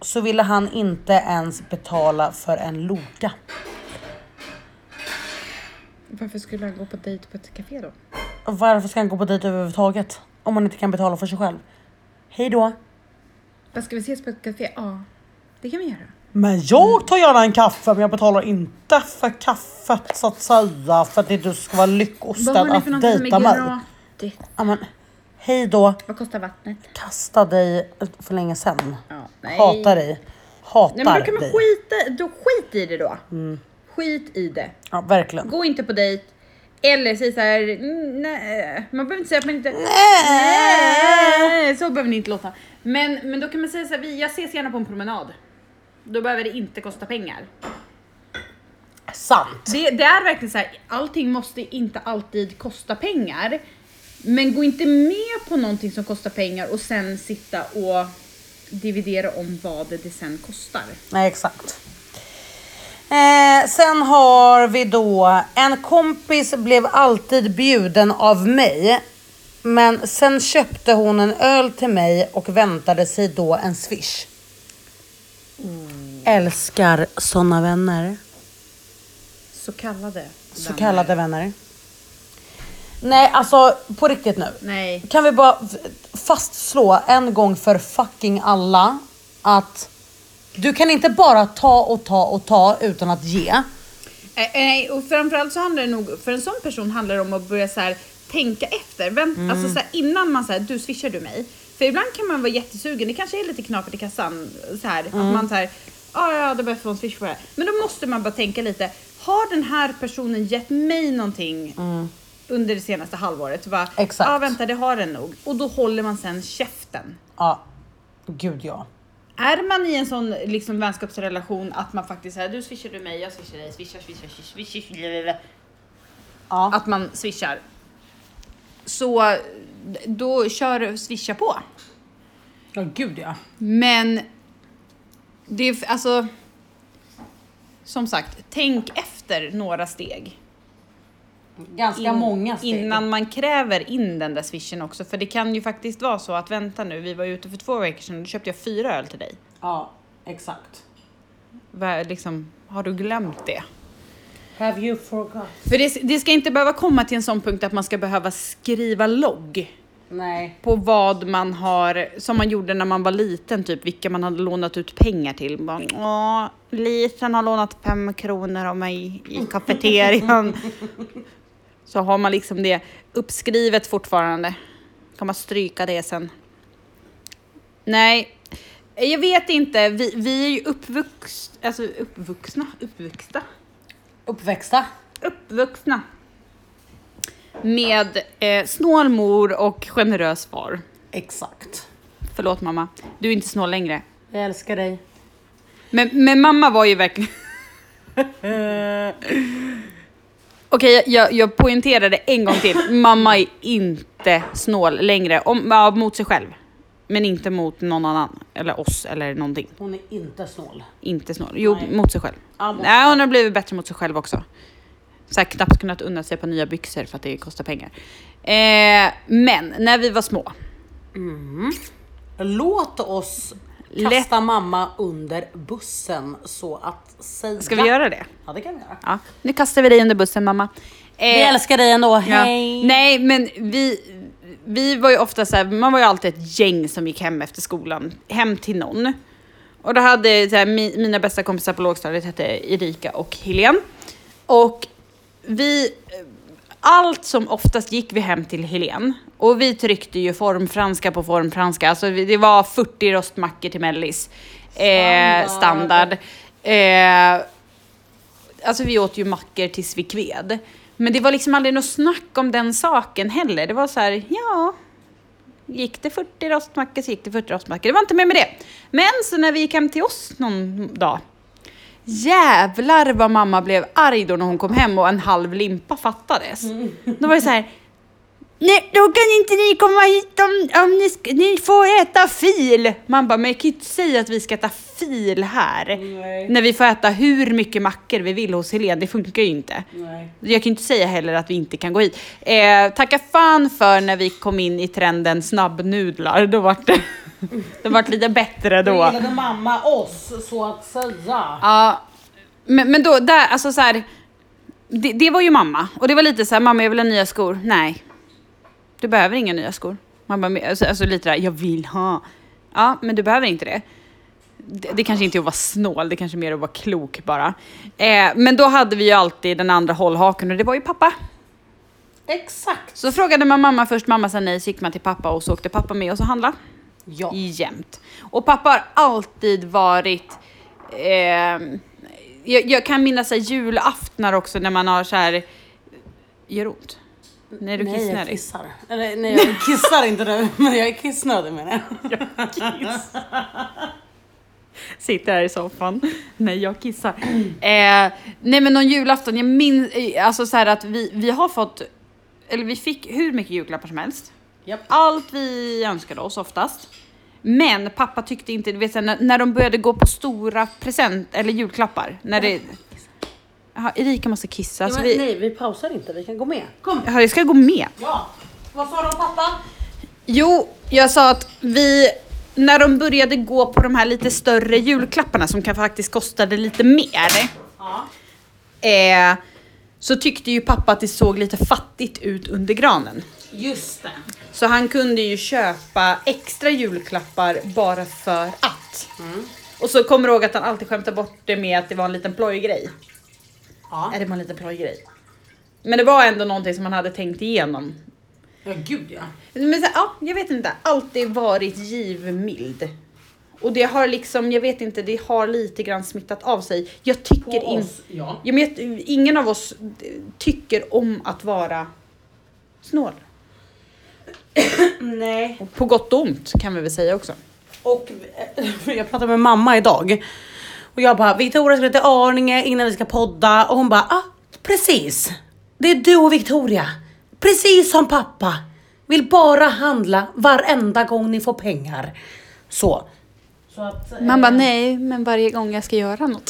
S1: så ville han inte ens betala för en loga.
S2: Varför skulle han gå på dejt på ett café då?
S1: Varför ska han gå på dejt överhuvudtaget om man inte kan betala för sig själv? Hej då.
S2: Vad ska vi ses på ett café? Ja, det kan vi göra.
S1: Men jag tar gärna en kaffe men jag betalar inte för kaffet så att säga för att det du ska vara
S2: Vad har
S1: lyckostad
S2: ni för
S1: att
S2: någonting som
S1: dejta mig.
S2: är gratis?
S1: Ja, men, hej då.
S2: Vad kostar vattnet?
S1: kasta dig för länge sedan.
S2: Ja, nej.
S1: Hatar dig. Hatar
S2: Nej men då kan man
S1: dig.
S2: skita då skit i det då. Skit i det.
S1: Ja, verkligen.
S2: Gå inte på dejt. Eller säg såhär, "Mm, nej. Man behöver inte säga att man inte... Nej. Så behöver ni inte låta. Men, men då kan man säga såhär, "Vi- jag ses gärna på en promenad. Då behöver det inte kosta pengar.
S1: Sant.
S2: Det, det är verkligen så här, allting måste inte alltid kosta pengar. Men gå inte med på någonting som kostar pengar och sen sitta och dividera om vad det sen kostar.
S1: Nej, exakt. Eh, sen har vi då, en kompis blev alltid bjuden av mig. Men sen köpte hon en öl till mig och väntade sig då en swish.
S2: Mm.
S1: Älskar såna vänner.
S2: Så kallade.
S1: Så kallade vänner. Nej, alltså på riktigt nu.
S2: Nej.
S1: Kan vi bara f- fastslå en gång för fucking alla att du kan inte bara ta och ta och ta utan att ge.
S2: Eh, Nej, och framförallt så handlar det nog, för en sån person handlar det om att börja så här, tänka efter. Vänt, Alltså så här, innan man säger du swishar du mig? För ibland kan man vara jättesugen, det kanske är lite knapert i kassan. Så här, Att man så här, ja ja det behövs få en swish för det här." Men då måste man bara tänka lite, har den här personen gett mig någonting under det senaste halvåret? Så bara,
S1: Exakt.
S2: Ja vänta det har den nog. Och då håller man sen käften.
S1: Ja, gud ja.
S2: Är man i en sån liksom, vänskapsrelation att man faktiskt säger du swishar du mig, jag swishar dig, swishar, swishar, swishar, swishar, swishar
S1: ja.
S2: att man swishar. Så då kör swisha på.
S1: Ja, gud ja.
S2: Men det är f- alltså. Som sagt, tänk efter några steg.
S1: Ganska
S2: In-
S1: många steg.
S2: Innan man kräver in den där swishen också. För det kan ju faktiskt vara så att vänta nu, vi var ute för två veckor sedan och då köpte jag fyra öl till dig.
S1: Ja, exakt.
S2: Va- Liksom, har du glömt det?
S1: Have you forgot?
S2: För det, det ska inte behöva komma till en sån punkt att man ska behöva skriva logg.
S1: Nej.
S2: på vad man har, som man gjorde när man var liten, typ vilka man hade lånat ut pengar till. Man, Åh, Lisen har lånat fem kronor av mig i kafeterian. Så har man liksom det uppskrivet fortfarande. Kan man stryka det sen? Nej, jag vet inte. Vi, vi är ju uppvux, alltså uppvuxna, uppvuxta,
S1: Uppväxta.
S2: uppvuxna med eh, snål mor och generös far.
S1: Exakt.
S2: Förlåt mamma, du är inte snål längre.
S1: Jag älskar dig.
S2: Men, men mamma var ju verkligen... Okej, jag, jag poängterade en gång till. Mamma är inte snål längre. Om, ja, mot sig själv. Men inte mot någon annan. Eller oss eller någonting.
S1: Hon är inte snål.
S2: Inte snål. Jo,
S1: Nej.
S2: mot sig själv.
S1: Ja, mot-
S2: Nej, hon har blivit bättre mot sig själv också. Så här, knappt kunnat unna sig på nya byxor för att det kostar pengar. Eh, men när vi var små.
S1: Låt oss Kasta mamma under bussen så att säga.
S2: Ska vi göra det? Eh,
S1: Ja det kan vi göra.
S2: Ja. Nu kastar vi dig under bussen mamma. Eh,
S1: Vi älskar dig ändå,
S2: Ja.
S1: hej!
S2: Nej, men vi, vi var ju ofta så här, man var ju alltid ett gäng som gick hem efter skolan, hem till någon. Och då hade så här, mi, mina bästa kompisar på lågstadiet hette Erika och Helene. Och vi, eh, allt som oftast gick vi hem till Helene. Och vi tryckte ju formfranska på formfranska, alltså vi- det var 40 rostmackor till mellis. Eh,
S1: Standard.
S2: standard. Eh, alltså vi åt ju mackor tills vi kved. Men det var liksom aldrig något snack om den saken heller. Det var så här, ja, gick det 40 rostmackor så gick det 40 rostmackor. Det var inte mer med det. Men så när vi gick hem till oss någon dag, jävlar vad mamma blev arg då när hon kom hem och en halv limpa fattades. Då var det så här, Nej, då kan inte ni komma hit om, om ni, sk- ni får äta fil. Man bara, men jag kan ju inte säga att vi ska äta fil här.
S1: Nej.
S2: När vi får äta hur mycket mackor vi vill hos Helene, det funkar ju inte.
S1: Nej.
S2: Jag kan ju inte säga heller att vi inte kan gå hit. Eh, tacka fan för när vi kom in i trenden snabbnudlar, då vart det, det vart lite bättre
S1: Då
S2: då.
S1: gillade mamma oss så att säga.
S2: Ja, men, men då, där, alltså så här, det, det var ju mamma. Och det var lite så här, mamma jag vill ha nya skor. Nej, du behöver inga nya skor. Man bara, men- alltså, alltså lite där, jag vill ha. Ja, men du behöver inte det. Det, det kanske inte är att vara snål, det kanske är mer att vara klok bara. Eh, men då hade vi ju alltid den andra hållhaken och det var ju pappa.
S1: Exakt.
S2: Så frågade man mamma först, mamma sa nej, så gick man till pappa och så åkte pappa med oss och handlade
S1: Ja.
S2: jämt. Och pappa har alltid varit... ehm, jag, jag kan minnas så här, julaftnar också när man har så här... Gör ont? När du
S1: nej, jag
S2: kissnödig?
S1: kissar. Eller, nej, jag kissar inte nu, men jag är kissnödig menar jag.
S2: Sitter här i soffan. Nej, jag kissar. Eh, nej, men någon julafton, jag minns... eh, Alltså så här att vi, vi har fått... Eller vi fick hur mycket julklappar som helst.
S1: Japp.
S2: Allt vi önskade oss oftast. Men pappa tyckte inte, du vet så här, när, när de började gå på stora present eller julklappar. När det, Jaha, Erika måste kissa. Så
S1: men,
S2: Alltså, vi,
S1: Nej, vi pausar inte, vi kan gå med. Kom.
S2: Jaha, jag ska gå med.
S1: Ja. Vad sa du om pappa?
S2: Jo, jag sa att vi, när de började gå på de här lite större julklapparna som kan faktiskt kostade lite mer.
S1: Ja.
S2: Eh, så tyckte ju pappa att det såg lite fattigt ut under granen.
S1: Just det.
S2: Så han kunde ju köpa extra julklappar bara för att.
S1: Mm.
S2: Och så kommer jag ihåg att han alltid skämtade bort det med att det var en liten plojgrej.
S1: Ja.
S2: Är det var en liten plojgrej? Men det var ändå någonting som han hade tänkt igenom.
S1: Ja, gud ja.
S2: Men så, ja, jag vet inte. Alltid varit givmild. Och det har liksom, jag vet inte, det har lite grann smittat av sig. Jag tycker
S1: På
S2: inte...
S1: oss, ja.
S2: Ja, men jag, ingen av oss eh, tycker om att vara snål.
S1: Nej.
S2: Och På gott och ont kan vi väl säga också.
S1: Och eh, jag pratade med mamma idag och jag bara Victoria ska till Arninge innan vi ska podda och hon bara ah, precis. Det är du och Victoria. Precis som pappa. Vill bara handla varenda gång ni får pengar. Så. Så att, eh,
S2: Man bara nej, men varje gång jag ska göra något.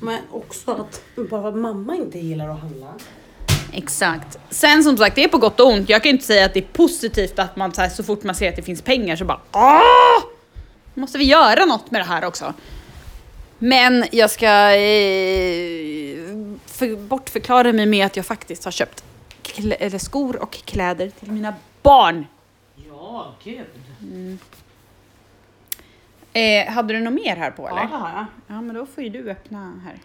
S1: Men också att bara för att mamma inte gillar att handla.
S2: Exakt. Sen som sagt, det är på gott och ont. Jag kan ju inte säga att det är positivt att man så, här, så fort man ser att det finns pengar så bara Åh! Måste vi göra något med det här också? Men jag ska eh, för, bortförklara mig med att jag faktiskt har köpt klä, eller skor och kläder till mina barn.
S1: Ja, gud.
S2: Eh, hade du något mer här på eller?
S1: Ja, det har jag.
S2: Ja, men då får ju du öppna här.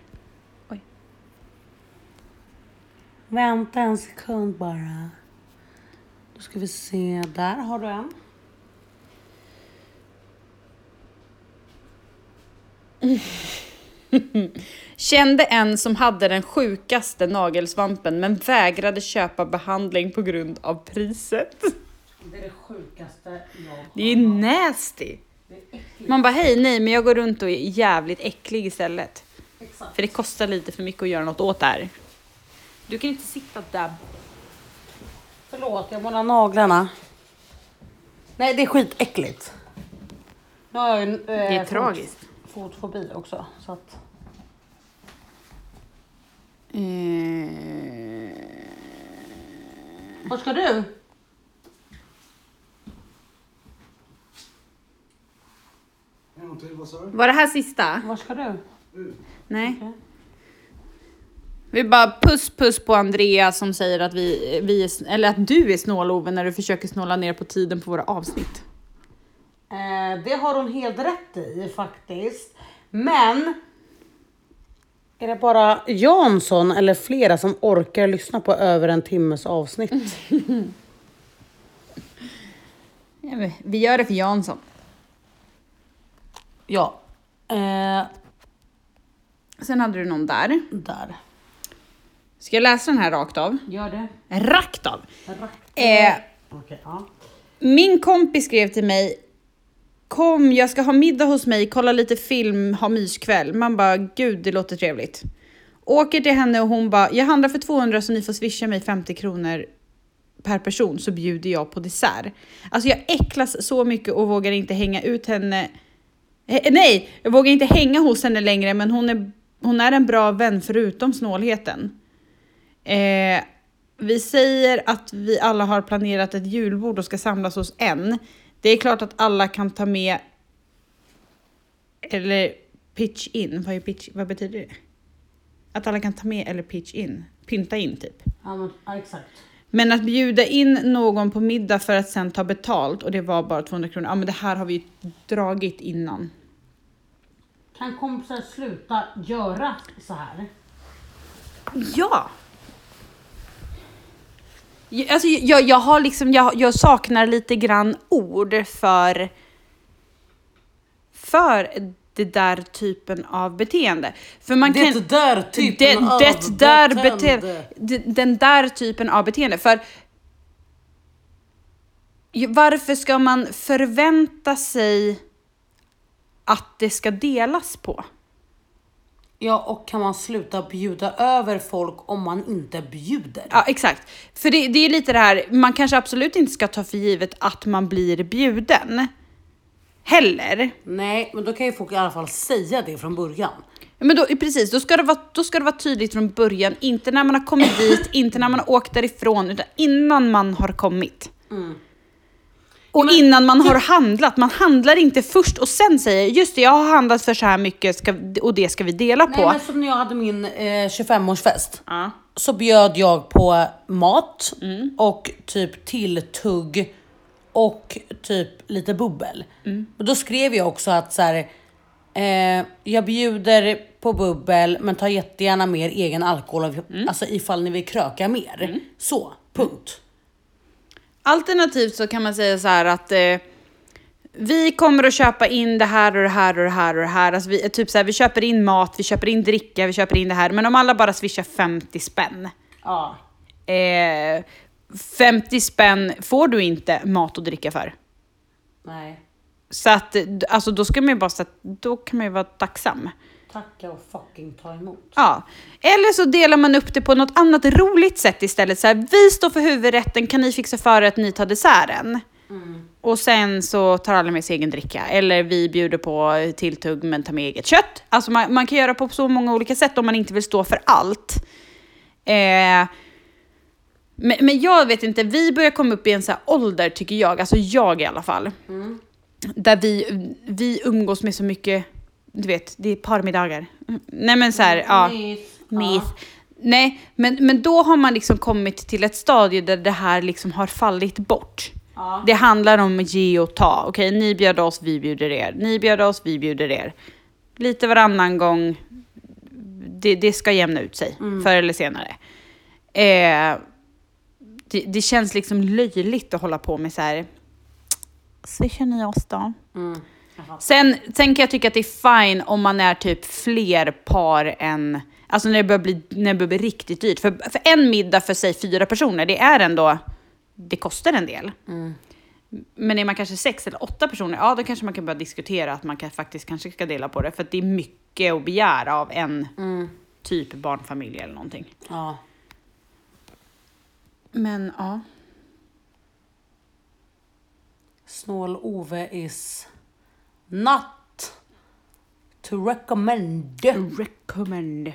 S1: Vänta en sekund bara. Då ska vi se, där har du en.
S2: Kände en som hade den sjukaste nagelsvampen men vägrade köpa behandling på grund av priset.
S1: Det är det sjukaste jag
S2: Det är ju nasty. Man bara hej, nej, men jag går runt och är jävligt äcklig istället.
S1: Exakt.
S2: För det kostar lite för mycket att göra något åt det här. Du kan inte sitta där.
S1: Förlåt, jag målar naglarna. Nej, det är skitäckligt. Nu har jag ju, eh, det
S2: är tragiskt.
S1: Fotfobi också. Så att,
S2: Eh.
S1: Vad ska du?
S3: Vad sa du?
S2: Var det här sista?
S1: Var ska du?
S2: Nej.
S1: Okej.
S2: Vi bara puss puss på Andrea som säger att, vi, vi är, sn- eller att du är snål Ove när du försöker snåla ner på tiden på våra avsnitt.
S1: Eh, det har hon helt rätt i faktiskt. Men är det bara Jansson eller flera som orkar lyssna på över en timmes avsnitt?
S2: Ja, men Vi gör det för Jansson.
S1: ja. Eh,
S2: Sen hade du någon där.
S1: där.
S2: Ska jag läsa den här rakt av?
S1: Gör det.
S2: Rakt av! Eh,
S1: Eh. Okej, ja.
S2: Min kompis skrev till mig Kom, jag ska ha middag hos mig, kolla lite film, ha myskväll. Man bara, gud det låter trevligt. Åker till henne och hon bara, jag handlar för 200 så ni får swisha mig 50 kronor per person så bjuder jag på dessert. Alltså jag äcklas så mycket och vågar inte hänga ut henne. Eh, nej, jag vågar inte hänga hos henne längre men hon är, hon är en bra vän förutom snålheten. Eh, vi säger att vi alla har planerat ett julbord och ska samlas hos en. Det är klart att alla kan ta med eller pitch in. Vad, är pitch, vad betyder det? Att alla kan ta med eller pitch in. Pynta in typ.
S1: Ja, men, ja, exakt.
S2: Men att bjuda in någon på middag för att sen ta betalt och det var bara 200 kronor. Ja men det här har vi ju dragit innan.
S1: Kan kompisar sluta göra så här?
S2: Ja! Jag- Alltså, jag, jag, har liksom, jag, jag saknar lite grann ord för, för det där typen av beteende. För man kan,
S1: där
S2: det, det där beteende. d- Den där typen av beteende. För ju- varför ska man förvänta sig att det ska delas på?
S1: Ja, och kan man sluta bjuda över folk om man inte bjuder?
S2: Ja, exakt. För det, det är lite det här, man kanske absolut inte ska ta för givet att man blir bjuden. Heller.
S1: Nej, men då kan ju folk i alla fall säga det från början.
S2: Ja, Men då, precis, då ska, det vara, då ska det vara tydligt från början. Inte när man har kommit dit, inte när man har åkt därifrån, utan innan man har kommit.
S1: Mm.
S2: Och innan man har handlat. Man handlar inte först och sen säger just det, jag har handlat för så här mycket ska, och det ska vi dela
S1: Nej,
S2: på.
S1: men som när jag hade min eh, 25-årsfest.
S2: Ja.
S1: så bjöd jag på mat
S2: Mm.
S1: och typ tilltugg och typ lite bubbel.
S2: Mm.
S1: Och då skrev jag också att så här, eh, jag bjuder på bubbel men tar jättegärna mer egen alkohol
S2: Mm.
S1: alltså ifall ni vill kröka mer. Så, punkt.
S2: Alternativt så kan man säga så här att eh, vi kommer att köpa in det här och det här och det här och det här. Alltså vi, typ så här, vi köper in mat, vi köper in dricka, vi köper in det här. Men om alla bara swishar 50 spänn.
S1: Ja.
S2: Eh, 50 spänn får du inte mat och dricka för.
S1: Nej,
S2: Så att d- alltså då ska man ju bara så att, då kan man ju vara tacksam.
S1: tacka och fucking ta emot.
S2: Ja. Eller så delar man upp det på något annat roligt sätt istället. Så här, vi står för huvudrätten, kan ni fixa förrätt, ni tar desserten. Och sen så tar alla med sig egen dricka. Eller vi bjuder på tilltugg men tar med eget kött. Alltså man, man kan göra på så många olika sätt om man inte vill stå för allt. Eh, men, men jag vet inte, vi börjar komma upp i en så här ålder tycker jag, alltså jag i alla fall. Där vi, vi umgås med så mycket, du vet, det är parmiddagar. Mm. Nej men så här, ja.
S1: Myth.
S2: Myth. Nej, men, men då har man liksom kommit till ett stadie där det här liksom har fallit bort.
S1: Ja.
S2: Det handlar om att ge och ta. Okej, ni bjöd oss, vi bjuder er. Ni bjöd oss, vi bjuder er. Lite varannan gång. Det, det ska jämna ut sig, förr eller senare. Eh, det, det känns liksom löjligt att hålla på med så här. Swishar ni oss då?
S1: Mm. Jag fattar.
S2: Sen, sen kan jag tycka att det är fine om man är typ fler par än... Alltså när det börjar bli, när det börjar bli riktigt dyrt. För, för en middag för säg fyra personer, det är ändå... Det kostar en del. Men är man kanske sex eller åtta personer, ja då kanske man kan börja diskutera att man kan, faktiskt kanske ska dela på det. För att det är mycket att begära av en typ barnfamilj eller någonting.
S1: Ja.
S2: Men ja.
S1: Snål-Ove is not to recommend.
S2: Recommend.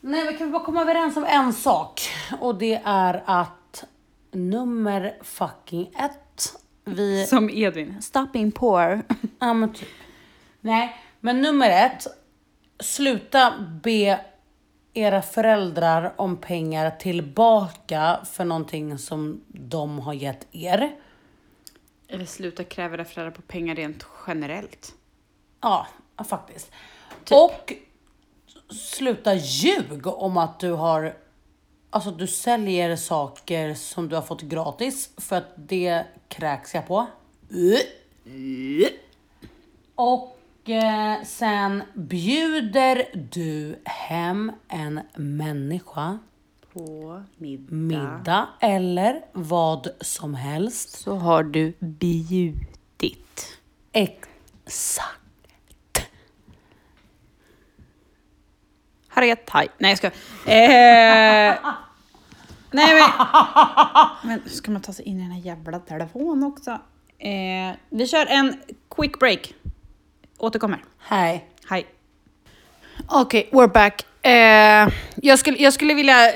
S1: Nej, vi kan väl bara komma överens om en sak och det är att nummer fucking ett Vi...
S2: Som Edvin. Stop being poor.
S1: Ja, men typ. Nej, men nummer ett. Sluta be era föräldrar om pengar tillbaka för någonting som de har gett er.
S2: Eller sluta kräva era föräldrar på pengar rent generellt.
S1: Ja, faktiskt. Och sluta ljug om att du har Alltså du säljer saker som du har fått gratis för att det kräks jag på. Och eh, sen bjuder du hem en människa
S2: På middag.
S1: middag eller vad som helst.
S2: Så har du bjudit.
S1: Exakt.
S2: Harriet Thai. Nej jag ska. Eh, nej men. Men ska man ta sig in i den här jävla telefonen också? Eh, vi kör en quick break. Återkommer.
S1: Hej.
S2: Hej. Okej, we're back. Eh, jag, skulle, jag skulle vilja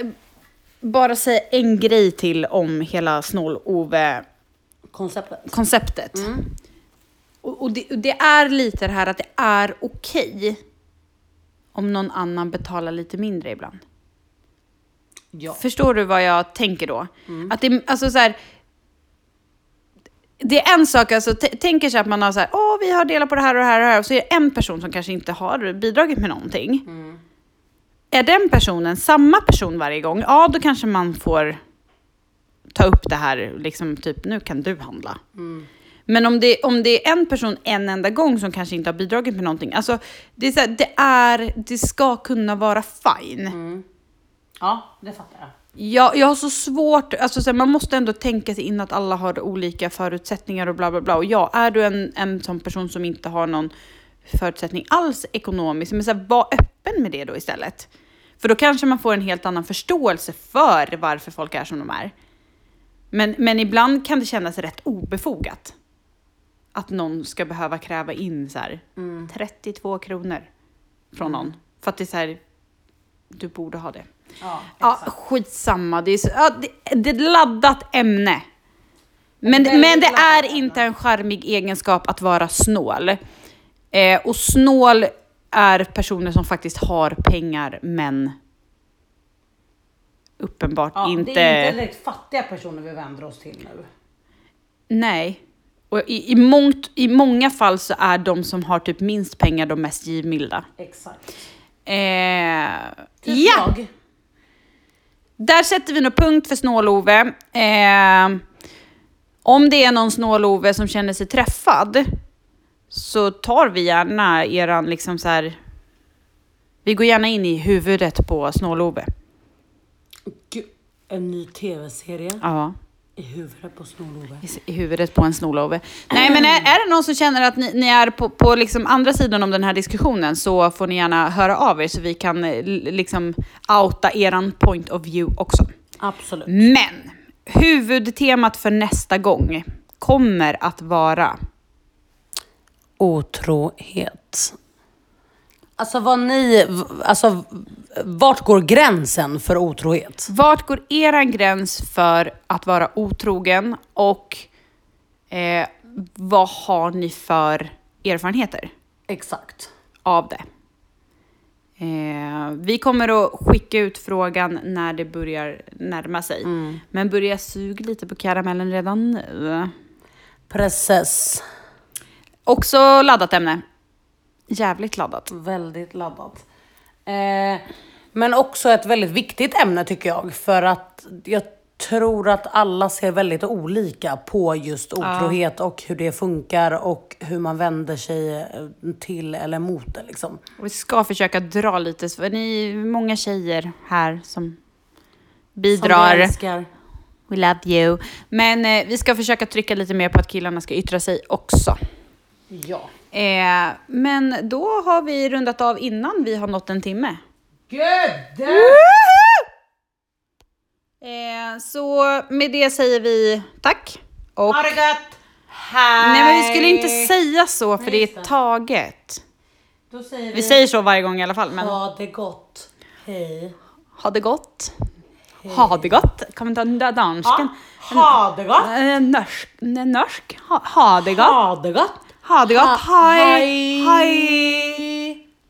S2: bara säga en grej till om hela Snål-Ove
S1: Konceptet.
S2: konceptet. Och, och, det, och det är lite det här att det är okej om någon annan betalar lite mindre ibland.
S1: Ja.
S2: Förstår du vad jag tänker då? Att det, alltså så här, det är en sak, alltså, t- tänker sig att man har så här, åh vi har delat på det här och det här och det här, och så är det en person som kanske inte har bidragit med någonting. Är den personen samma person varje gång, ja då kanske man får ta upp det här, liksom typ nu kan du handla. Men om det, om det är en person en enda gång som kanske inte har bidragit med någonting, alltså det är, så här, det, är det ska kunna vara fine.
S1: Ja, det fattar jag.
S2: Jag, jag har så svårt, alltså så här, man måste ändå tänka sig in att alla har olika förutsättningar och bla bla bla. Och ja, är du en, en sån person som inte har någon förutsättning alls ekonomiskt, men så här, var öppen med det då istället. För då kanske man får en helt annan förståelse för varför folk är som de är. Men, men ibland kan det kännas rätt obefogat. Att någon ska behöva kräva in så här, 32 kronor från någon. För att det är så här, du borde ha det.
S1: Ja,
S2: Ja, skitsamma. Det är, så, ja, det, det är ett laddat ämne. Men,
S1: Väldigt
S2: men det
S1: laddat
S2: är
S1: ämne.
S2: inte en charmig egenskap att vara snål. Eh, och snål är personer som faktiskt har pengar, men uppenbart
S1: Ja,
S2: inte...
S1: Det är inte direkt fattiga personer vi vänder oss till nu.
S2: Nej. Och i, i, mångt, I många fall så är de som har typ minst pengar de mest givmilda.
S1: Exakt.
S2: Eh,
S1: Typ
S2: ja.
S1: jag.
S2: Där sätter vi nog punkt för Snål-Ove. Eh, om det är någon Snål-Ove som känner sig träffad så tar vi gärna eran liksom så här... Vi går gärna in i huvudet på Snål-Ove.
S1: Gud, en ny tv-serie
S2: Ja,
S1: i huvudet på Snor-Ove.
S2: i s- i huvudet på en Snål-Ove. Nej, men är, är det någon som känner att ni, ni är på, på liksom andra sidan om den här diskussionen så får ni gärna höra av er så vi kan eh, l- liksom outa eran point of view också.
S1: Absolut.
S2: Men huvudtemat för nästa gång kommer att vara...
S1: Otrohet. Alltså vad ni, alltså v- vart går gränsen för otrohet?
S2: Vart går eran gräns för att vara otrogen och eh, vad har ni för erfarenheter
S1: Exakt.
S2: av det? Eh, vi kommer att skicka ut frågan när det börjar närma sig. Men börja suga lite på karamellen redan nu.
S1: Precis.
S2: Också laddat ämne. Jävligt laddat.
S1: Väldigt laddat. Eh, men också ett väldigt viktigt ämne tycker jag. För att jag tror att alla ser väldigt olika på just otrohet och hur det funkar och hur man vänder sig eh, till eller mot det. Liksom.
S2: Och Vi ska försöka dra lite, för ni är många tjejer här som
S1: Som vi
S2: bidrar.
S1: älskar.
S2: We love you. Men eh, vi ska försöka trycka lite mer på att killarna ska yttra sig också.
S1: Ja.
S2: Eh, men då har vi rundat av innan vi har nått en timme.
S1: Gud!
S2: Eh, så med det säger vi tack. Och,
S1: Ha det gött! Hej!
S2: nej men vi skulle inte säga så för det är taget.
S1: Då säger vi,
S2: Vi säger så varje gång i alla fall men
S1: ha det gott. Hej.
S2: ha det gott. Ha det gott. Kan vi ta den där dansken?
S1: Ha det gott!
S2: Eh, norsk. Nej, norsk. Ha, ha det gott.
S1: Ha det gott!
S2: Ha det gott.
S1: Ha-
S2: Hej.
S1: hej.
S2: Hej.